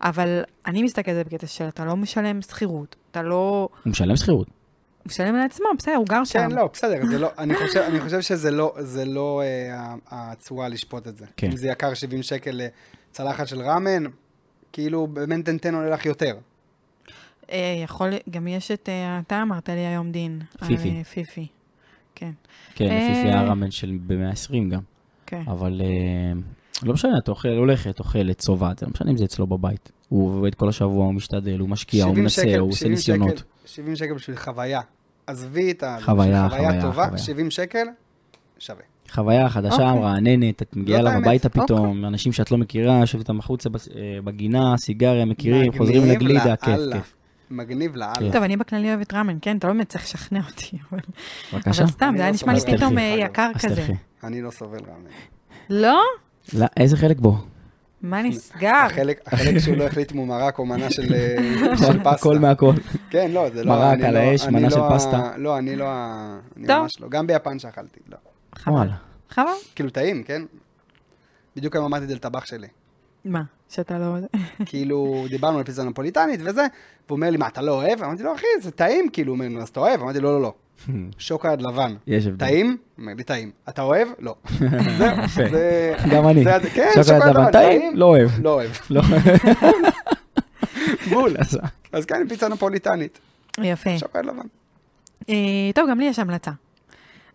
אבל אני מסתכל על זה בקטע של אתה לא משלם שכירות, אתה לא...
הוא משלם שכירות.
הוא משלם על עצמו, בסדר, הוא גר שם.
כן, לא, בסדר, זה לא, אני, חושב, אני חושב שזה לא, זה לא אה, ה- הצורה לשפוט את זה.
כן.
אם זה יקר 70 שקל לצלחת של ראמן, כאילו במנטנטן עולה לך יותר.
אה, יכול, גם יש את, אה, אתה אמרת לי היום דין. על,
פיפי.
אה, פיפי,
כן,
אה.
לפי הראמן של ב-120 גם.
כן.
אבל אה, לא משנה, אתה אוכל, הולכת, אוכלת, צובעת, זה לא משנה אם זה אצלו בבית. הוא עובד כל השבוע, הוא משתדל, הוא משקיע, הוא
70
מנסה,
שקל-
הוא עושה
70 שקל-
ניסיונות.
70 שקל בשביל חוויה. עזבי את ה...
חוויה,
בשביל
חוויה,
טובה,
חוויה.
70 שקל, שווה.
חוויה חדשה,
אוקיי.
מרעננת, את מגיעה
זאת
לה
האמת,
הביתה פתאום, אנשים שאת לא מכירה, יושבת איתם החוצה בס- אה, בגינה, סיגריה, מכירים, חוזרים
מגניב
לגלידה, כיף,
לאללה.
כיף.
מגניב לאללה.
כן.
טוב, אני בכללי אוהבת ראמן, כן? אתה לא באמת צריך לשכנע אותי, אבל-
בבקשה,
אבל סתם,
אני
זה היה
לא
נשמע לי
סובלת.
פתאום
דרך
אה,
אגב.
יקר
אז
כזה.
תלכי.
אני לא סובל ראמן.
לא?
לא, איזה חלק בו?
מה נסגר?
החלק החלק שהוא לא החליט אם הוא מרק או מנה של אה, של פסטה.
הכל מהכל.
כן, לא, זה לא...
מרק
אני
על
לא-
האש,
אני
מנה
לא
של
ה-
פסטה.
לא, אני לא ה... אני
טוב.
ממש לא. גם ביפן שאכלתי, לא.
חבל.
וואלה.
חבל?
כאילו טעים, כן? בדיוק היום אמרתי את זה לטבח שלי.
מה? שאתה לא...
כאילו, דיברנו על פיצה נפוליטנית וזה, והוא אומר לי, מה, אתה לא אוהב? אמרתי לו, אחי, זה טעים, כאילו, הוא אומר, "נו, אז אתה אוהב? אמרתי, לא, לא, לא. שוקולד לבן.
יש הבדל.
טעים? הוא אומר לי, טעים. אתה אוהב? לא.
יפה.
זהו, זה...
גם אני.
זה- כן,
שוקולד לבן טעים? לא אוהב.
לא אוהב.
לא.
בול.
אז-
לא,
אז כן, פיצה נפוליטנית,
יפה.
שוקולד לבן.
אה, טוב, גם לי יש המלצה.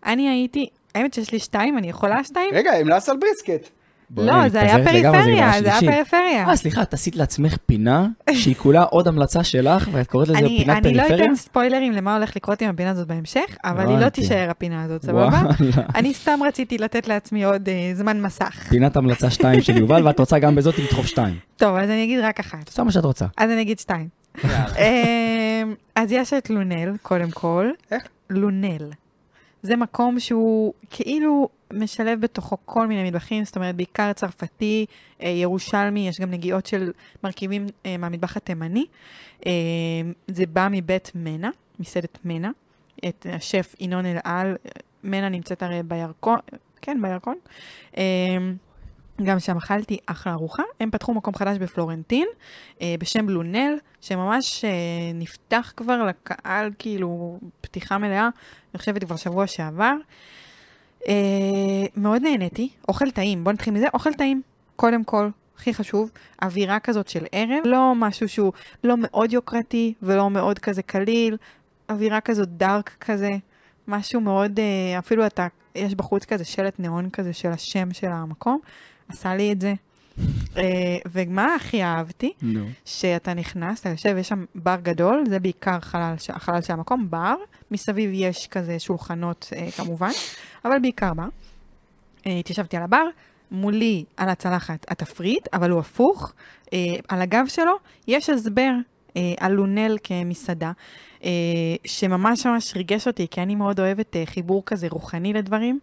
אני הייתי... האמת שיש לי שתיים, אני יכולה שתיים?
רגע, המלצת על בריסקט.
בואי,
לא,
אני
זה היה
מתפזרת לגמרי, זה
פריפריה,
כבר
זה היה
השלישי.
פריפריה.
אה, סליחה, את עשית לעצמך פינה שהיא כולה עוד המלצה שלך, ואת קוראת לזה
אני,
פינת
אני לא
פריפריה?
אתן ספוילרים למה הולך לקרות עם הפינה הזאת בהמשך, אבל היא לא
הבנתי.
תישאר הפינה הזאת, סבבה?
וואלה.
אני סתם רציתי לתת לעצמי עוד אה, זמן מסך.
פינת המלצה 2 של יובל, ואת רוצה גם בזאת לדחוף 2.
טוב, אז אני אגיד רק אחת.
את עושה מה שאת רוצה.
אז אני אגיד שתיים.
יאללה.
אמ, אז יש את לונל, קודם כל.
איך?
לונל. זה מקום שהוא כאילו משלב בתוכו כל מיני מטבחים, זאת אומרת, בעיקר צרפתי, אה, ירושלמי, יש גם נגיעות של מרכיבים אה, מהמטבח התימני. אה, זה בא מבית מנע, מסעדת מנע, את השף ינון אלעל, אה, מנע נמצאת הרי בירקון, כן, בירקון. אה, גם שם אכלתי אחלה ארוחה. הם פתחו מקום חדש בפלורנטין, אה, בשם לונל, שממש אה, נפתח כבר לקהל, כאילו, פתיחה מלאה, אני חושבת כבר שבוע שעבר. אה, מאוד נהניתי, אוכל טעים, בוא נתחיל מזה, אוכל טעים, קודם כל. הכי חשוב, אווירה כזאת של ערב, לא משהו שהוא לא מאוד יוקרתי ולא מאוד כזה קליל, אווירה כזאת דארק כזה, משהו מאוד, אה, אפילו אתה, יש בחוץ כזה שלט נאון כזה של השם של המקום, עשה לי את זה. אה, ומה הכי אהבתי?
נו.
שאתה נכנס, אתה יושב, יש שם בר גדול, זה בעיקר חלל, ש- החלל של המקום, בר, מסביב יש כזה שולחנות אה, כמובן, אבל בעיקר בר. אה, התיישבתי על הבר, מולי על הצלחת התפריט, אבל הוא הפוך, אה, על הגב שלו יש הסבר אה, על לונל כמסעדה, אה, שממש ממש ריגש אותי, כי אני מאוד אוהבת אה, חיבור כזה רוחני לדברים,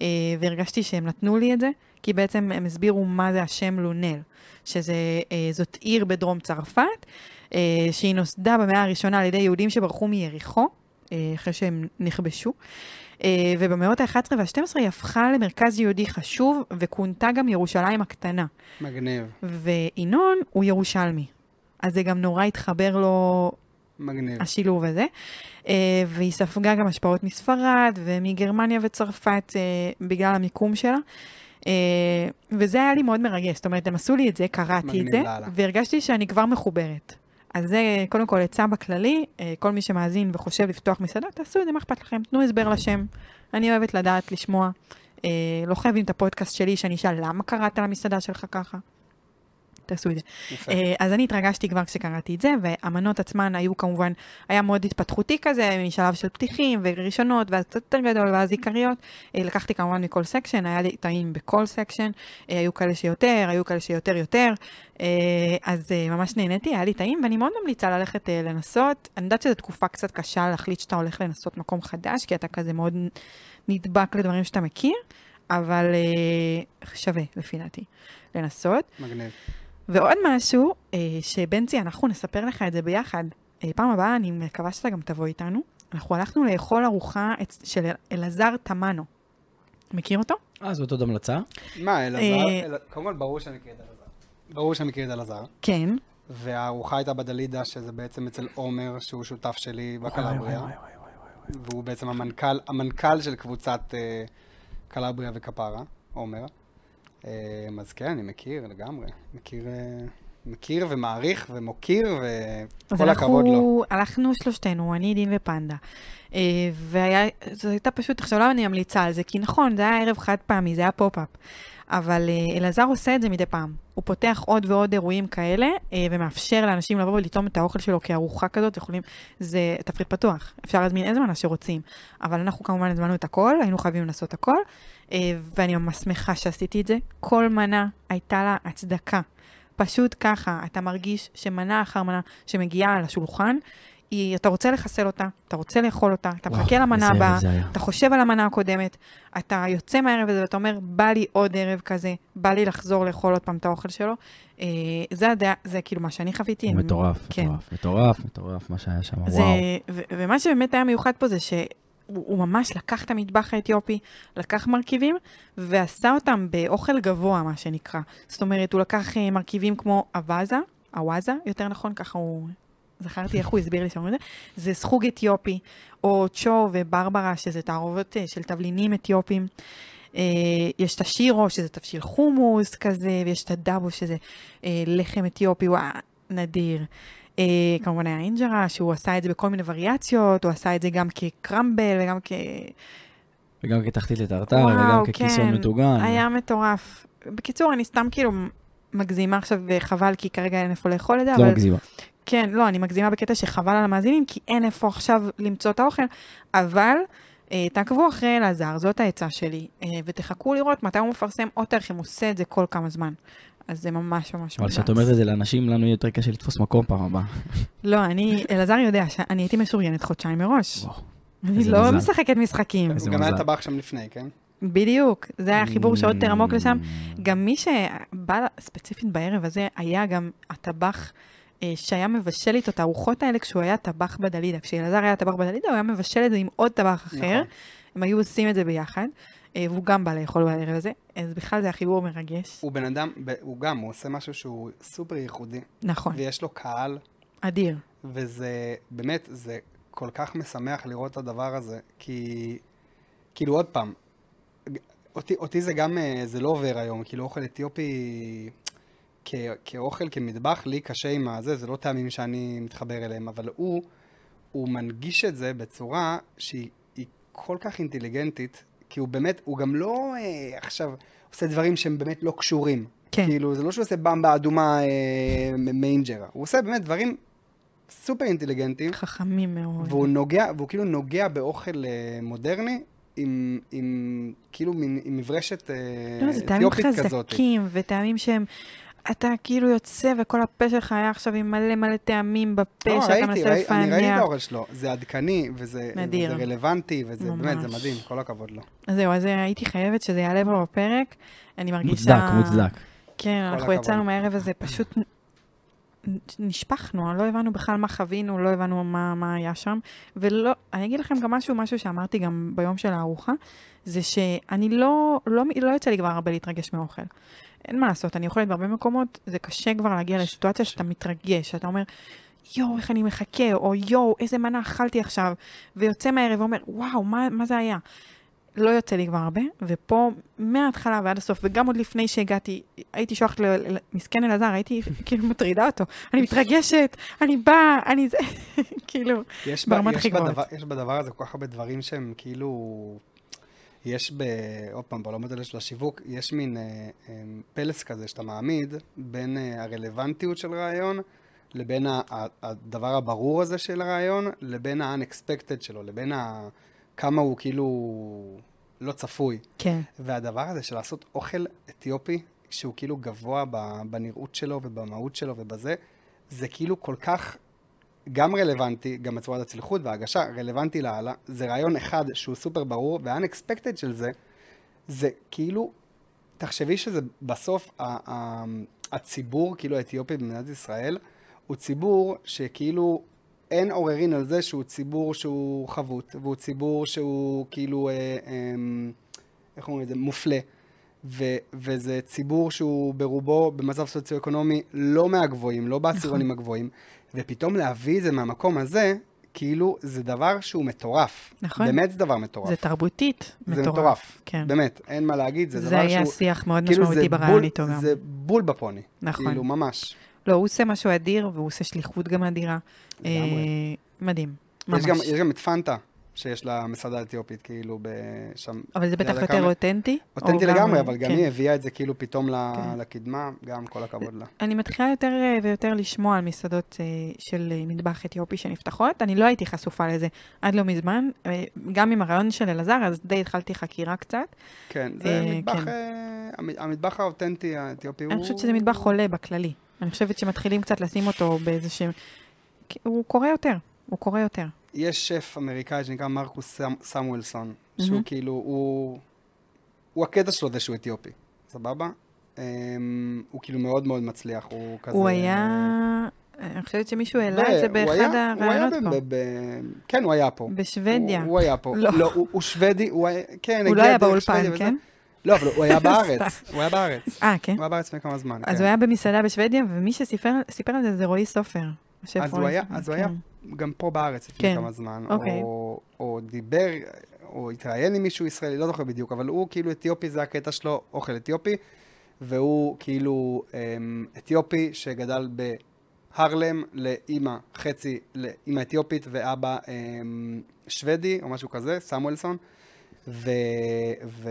אה, והרגשתי שהם נתנו לי את זה, כי בעצם הם הסבירו מה זה השם לונל. שזה, אה, זאת עיר בדרום צרפת, אה, שהיא נוסדה במאה הראשונה על ידי יהודים שברחו מיריחו, אה, אחרי שהם נכבשו, אה, ובמאות ה-11 וה-12 היא הפכה למרכז יהודי חשוב, וכונתה גם ירושלים הקטנה.
מגניב,
וינון הוא ירושלמי, אז זה גם נורא התחבר לו
מגניב.
השילוב הזה. אה, והיא ספגה גם השפעות מספרד ומגרמניה וצרפת אה, בגלל המיקום שלה. אה, וזה היה לי מאוד מרגש, זאת אומרת, הם עשו לי את זה, קראתי את
מגניב
זה,
לאללה.
והרגשתי שאני כבר מחוברת. אז זה קודם כל עצה בכללי, אה, כל מי שמאזין וחושב לפתוח מסעדה, תעשו את זה, מה אכפת לכם? תנו הסבר לשם. אני אוהבת לדעת, לשמוע. אה, לא חייבים את הפודקאסט שלי שאני אשאל למה קראת למסעדה שלך ככה. תעשו את זה.
יפה.
אה, אז אני התרגשתי כבר כשקראתי את זה, והמנות עצמן היו כמובן, היה מאוד התפתחותי כזה, משלב של פתיחים וראשונות, ואז קצת יותר גדול, ואז עיקריות. אה, לקחתי כמובן מכל סקשן, היה לי טעים בכל סקשן, אה, היו כאלה שיותר, היו כאלה שיותר יותר, אה, אז אה, ממש נהניתי, היה לי טעים, ואני מאוד ממליצה ללכת אה, לנסות. אני יודעת שזו תקופה קצת קשה להחליט שאתה הולך לנסות מקום חדש, כי אתה כזה מאוד נדבק לדברים שאתה מכיר, אבל אה, שווה, לפי דעתי, לנסות.
מגניב.
ועוד משהו, אה, שבנצי, אנחנו נספר לך את זה ביחד. אה, פעם הבאה, אני מקווה שאתה גם תבוא איתנו. אנחנו הלכנו לאכול ארוחה אצ- של אל- אלעזר תמנו. מכיר אותו?
אה, זאת עוד המלצה?
מה, אלעזר?
אה,
אל- קודם כל, ברור שאני מכיר את אלעזר. ברור שאני מכיר את אלעזר.
כן.
והארוחה הייתה בדלידה, שזה בעצם אצל עומר, שהוא שותף שלי בקלבריה. והוא בעצם המנכ"ל, המנכ"ל של קבוצת אה, קלבריה וכפרה, עומר. אה, אז כן, אני מכיר לגמרי. מכיר, אה, מכיר ומעריך ומוקיר,
אז
וכל הכבוד לו.
אנחנו הלכנו שלושתנו, אני, דין ופנדה. אה, והיה, זו הייתה פשוט, עכשיו למה אני ממליצה על זה? כי נכון, זה היה ערב חד פעמי, זה היה פופ-אפ. אבל אה, אלעזר עושה את זה מדי פעם. הוא פותח עוד ועוד אירועים כאלה, אה, ומאפשר לאנשים לבוא ולטעום את האוכל שלו כארוחה כזאת, יכולים, זה תפריט פתוח, אפשר להזמין איזה מנה שרוצים. אבל אנחנו כמובן הזמנו את הכל, היינו חייבים לעשות הכל, אה, ואני ממש שמחה שעשיתי את זה. כל מנה הייתה לה הצדקה. פשוט ככה, אתה מרגיש שמנה אחר מנה שמגיעה על השולחן, היא, אתה רוצה לחסל אותה, אתה רוצה לאכול אותה, אתה
וואו,
מחכה למנה
איזה ערב
הבאה,
זה היה.
אתה חושב על המנה הקודמת, אתה יוצא מהערב הזה ואתה אומר, בא לי עוד ערב כזה, בא לי לחזור לאכול עוד פעם את האוכל שלו. אה, זה, הדעה, זה כאילו מה שאני חוויתי.
הוא
אני-
מטורף,
כן.
מטורף, מטורף, מטורף, מה שהיה שם,
זה,
וואו.
ו- ומה שבאמת היה מיוחד פה זה שהוא הוא ממש לקח את המטבח האתיופי, לקח מרכיבים ועשה אותם באוכל גבוה, מה שנקרא. זאת אומרת, הוא לקח אה, מרכיבים כמו אוואזה, אוואזה, יותר נכון, ככה הוא... זכרתי איך הוא הסביר לי שאומרים את זה, זה סחוג אתיופי, או צ'ו וברברה, שזה תערובות אה, של תבלינים אתיופים. אה, יש את השירו, שזה תבשיל חומוס כזה, ויש את הדאבו, שזה אה, לחם אתיופי, וואו, נדיר. אה, כמובן היה אינג'רה, שהוא עשה את זה בכל מיני וריאציות, הוא עשה את זה גם כקרמבל וגם כ...
וגם כתחתית לטרטר,
וואו,
וגם
כן.
ככיסון מטוגן.
היה מטורף. בקיצור, אני סתם כאילו מגזימה עכשיו, וחבל, כי כרגע אין איפה לאכול את זה,
לא
אבל...
מגזימה.
כן, לא, אני מגזימה בקטע שחבל על המאזינים, כי אין איפה עכשיו למצוא את האוכל, אבל אה, תעקבו אחרי אלעזר, זאת העצה שלי, אה, ותחכו לראות מתי הוא מפרסם עוד תאריך, אם הוא עושה את זה כל כמה זמן. אז זה ממש ממש
אבל
ממש.
כשאת אומרת את זה לאנשים, לנו יהיה יותר קשה לתפוס מקום פעם הבאה.
לא, אני, אלעזר יודע שאני הייתי משוריינת חודשיים מראש.
וואו,
אני
איזה
לא
מזל.
משחקת משחקים.
איזה
הוא גם היה
מזל.
טבח שם לפני, כן?
בדיוק, זה היה חיבור שעוד יותר עמוק לשם.
Mm.
גם מי שבא לה- ספציפית בערב הזה, היה גם הטבח אה, שהיה מבשל איתו את הארוחות האלה כשהוא היה טבח בדלידה. כשאלעזר היה טבח בדלידה, הוא היה מבשל את זה עם עוד טבח אחר.
נכון.
הם היו עושים את זה ביחד, אה, והוא גם בא לאכול בערב הזה, אז בכלל זה היה חיבור מרגש.
הוא בן אדם, ב- הוא גם, הוא עושה משהו שהוא סופר ייחודי,
נכון,
ויש לו קהל,
אדיר.
וזה, באמת, זה כל כך משמח לראות את הדבר הזה, כי, כאילו, עוד פעם, ג- אותי, אותי זה גם, אה, זה לא עובר היום, כאילו, אוכל אתיופי כ, כאוכל, כמטבח, לי קשה עם הזה, זה לא טעמים שאני מתחבר אליהם, אבל הוא, הוא מנגיש את זה בצורה שהיא היא כל כך אינטליגנטית, כי הוא באמת, הוא גם לא אה, עכשיו עושה דברים שהם באמת לא קשורים.
כן.
כאילו, זה לא שהוא עושה במבה אדומה אה, מ- מיינג'רה. הוא עושה באמת דברים סופר אינטליגנטים,
חכמים מאוד.
והוא נוגע, והוא כאילו נוגע באוכל אה, מודרני, עם, עם כאילו מין, עם מברשת אה,
לא, זה טעמים
אתיופית כזאת.
חזקים, וטעמים שהם... אתה כאילו יוצא, וכל הפה שלך היה עכשיו עם מלא מלא טעמים בפה,
לא,
שאתה
ראיתי,
מנסה
ראי, אני ראיתי את
לפענח.
האוכל שלו, זה עדכני, וזה,
נדיר.
וזה רלוונטי, וזה באמת, זה
ממש.
מדהים, כל הכבוד לו.
אז זהו, אז אה, הייתי חייבת שזה יעלה פה בפרק. אני מרגישה...
מוצדק, מוצדק.
כן, אנחנו
הכבוד.
יצאנו מהערב הזה, פשוט נ- נ- נשפכנו, לא הבנו בכלל מה חווינו, לא הבנו מה, מה היה שם. ולא, אני אגיד לכם גם משהו, משהו שאמרתי גם ביום של הארוחה, זה שאני לא, לא, מ- לא יוצא לי כבר הרבה להתרגש מהאוכל. אין מה לעשות, אני אוכלת בהרבה מקומות, זה קשה כבר להגיע לסיטואציה שאתה מתרגש, שאתה אומר, יואו, איך אני מחכה, או יואו, איזה מנה אכלתי עכשיו, ויוצא מהערב ואומר, וואו, מה, מה זה היה? לא יוצא לי כבר הרבה, ופה מההתחלה ועד הסוף, וגם עוד לפני שהגעתי, הייתי שולחת ל- ל- מסכן אלעזר, הייתי כאילו מטרידה אותו, אני מתרגשת, אני באה, אני זה, כאילו,
יש,
ברמת
ב,
הכי
יש,
גבוהות.
בדבר, יש בדבר הזה כל כך הרבה דברים שהם כאילו... יש ב... עוד פעם, בעולמות האלה של השיווק, יש מין אה, אה, פלס כזה שאתה מעמיד בין אה, הרלוונטיות של רעיון לבין ה, ה, הדבר הברור הזה של הרעיון, לבין ה-unexpected שלו, לבין ה, כמה הוא כאילו לא צפוי.
כן,
והדבר הזה של לעשות אוכל אתיופי, שהוא כאילו גבוה ב- בנראות שלו ובמהות שלו ובזה, זה כאילו כל כך גם רלוונטי, גם בצורת הצלחות וההגשה, רלוונטי לאללה. זה רעיון אחד שהוא סופר ברור, וה-unexpected של זה, זה כאילו, תחשבי שזה בסוף ה- ה- הציבור, כאילו האתיופי במדינת ישראל, הוא ציבור שכאילו אין עוררין על זה שהוא ציבור שהוא חבוט, והוא ציבור שהוא כאילו, אה, אה, איך אומרים את זה, מופלה. ו- וזה ציבור שהוא ברובו במצב סוציו-אקונומי לא מהגבוהים, לא בעשירונים
נכון.
הגבוהים, ופתאום להביא את זה מהמקום הזה, כאילו זה דבר שהוא מטורף.
נכון.
באמת זה דבר מטורף.
זה תרבותית,
זה מטורף.
כן.
באמת, אין מה להגיד, זה,
זה,
דבר
היה
שהוא...
שיח מאוד
כאילו, זה
משמעותי ברעיון
בול-
איתו גם.
זה בול בפוני.
נכון.
כאילו, ממש.
לא, הוא עושה משהו אדיר, והוא עושה שליחות גם אדירה.
לגמרי.
אה, מדהים, ממש.
יש גם, יש גם את פנטה, שיש לה מסעדה אתיופית, כאילו, ב- שם...
אבל זה
ליד
בטח
הקאמל.
יותר אותנטי. או
אותנטי
גם-
לגמרי, אבל גם
כן.
היא הביאה את זה כאילו פתאום ל-
כן.
לקדמה, גם כל הכבוד לה.
אני מתחילה יותר אה, ויותר לשמוע על מסעדות אה, של אה, מטבח אתיופי שנפתחות. אני לא הייתי חשופה לזה עד לא מזמן. אה, גם עם הרעיון של אלעזר, אז די התחלתי חקירה קצת.
כן, זה
אה,
מטבח,
כן.
אה, המ- המטבח האותנטי האתיופי הוא...
אני חושבת שזה מטבח חולה בכללי. אני חושבת שמתחילים קצת לשים אותו באיזה שהם... הוא קורא יותר, הוא קורא יותר.
יש שף אמריקאי שנקרא מרקוס סם, סמואלסון, mm-hmm.
מהמם.
שהוא כאילו, הוא... הוא הקטע שלו זה שהוא אתיופי, סבבה? אמ, הוא כאילו מאוד מאוד מצליח, הוא כזה...
הוא היה... אני חושבת שמישהו העלה את זה
ו- הוא היה-
באחד
הוא היה
הרעיונות
ב-
פה.
ב- ב- כן, הוא היה פה.
בשוודיה.
הוא, הוא היה פה.
לא.
לא, הוא, הוא שוודי, הוא היה... כן,
הוא לא
הגיע
היה
דרך
באולפן,
שוודיה וזה.
כן?
לא, אבל הוא היה בארץ. הוא היה בארץ.
אה, כן.
הוא היה בארץ לפני כמה זמן,
אז
כן.
הוא היה במסעדה בשוודיה, ומי שסיפר סיפר על זה זה רועי סופר. השף
אז הוא
רועי
היה-
סופר,
אז הוא היה
כן.
גם פה בארץ לפני
כן.
כמה זמן,
אוקיי.
או, או דיבר, או התראיין עם מישהו ישראלי, לא זוכר בדיוק, אבל הוא כאילו אתיופי, זה הקטע שלו, אוכל אתיופי, והוא כאילו אמ, אתיופי שגדל בהרלם לאימא, חצי לאימא אתיופית ואבא אמ, שוודי, או משהו כזה, סמואלסון, ו... ו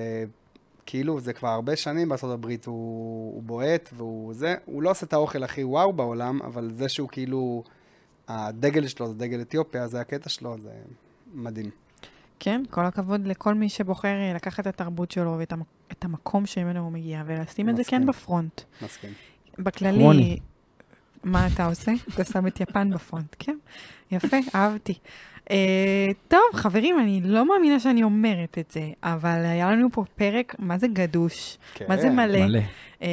כאילו זה כבר הרבה שנים בארצות הברית, הוא, הוא בועט והוא זה, הוא לא עושה את האוכל הכי וואו בעולם, אבל זה שהוא כאילו, הדגל שלו זה דגל אתיופיה, זה הקטע שלו, זה מדהים.
כן, כל הכבוד לכל מי שבוחר אה, לקחת את התרבות שלו ואת המ- את המקום שממנו הוא מגיע, ולשים את זה כן
מסכים.
בפרונט.
מסכים.
בכללי,
כמוני.
מה אתה עושה? אתה שם את יפן בפרונט, כן? יפה, אהבתי. אה, טוב, חברים, אני לא מאמינה שאני אומרת את זה, אבל היה לנו פה פרק, מה זה גדוש?
כן.
מה זה מלא?
מלא.
אה,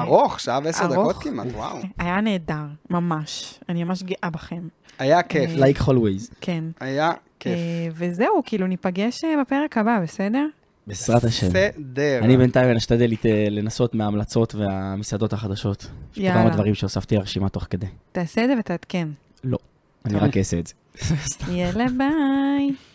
ארוך, שעה ועשר
ארוך.
דקות כמעט, וואו.
היה נהדר, ממש. אני ממש גאה בכם.
היה כיף,
אה,
Like always.
כן.
היה כיף.
אה, וזהו, כאילו, ניפגש אה, בפרק הבא, בסדר?
בעזרת השם.
סדר.
אני בינתיים אשתדל לת- לנסות מההמלצות והמסעדות החדשות. יש פה
יאללה.
כמה דברים שהוספתי לרשימה תוך כדי.
תעשה את זה ותעדכן.
אני
טוב.
רק אעשה את זה. סתם.
יאללה, ביי.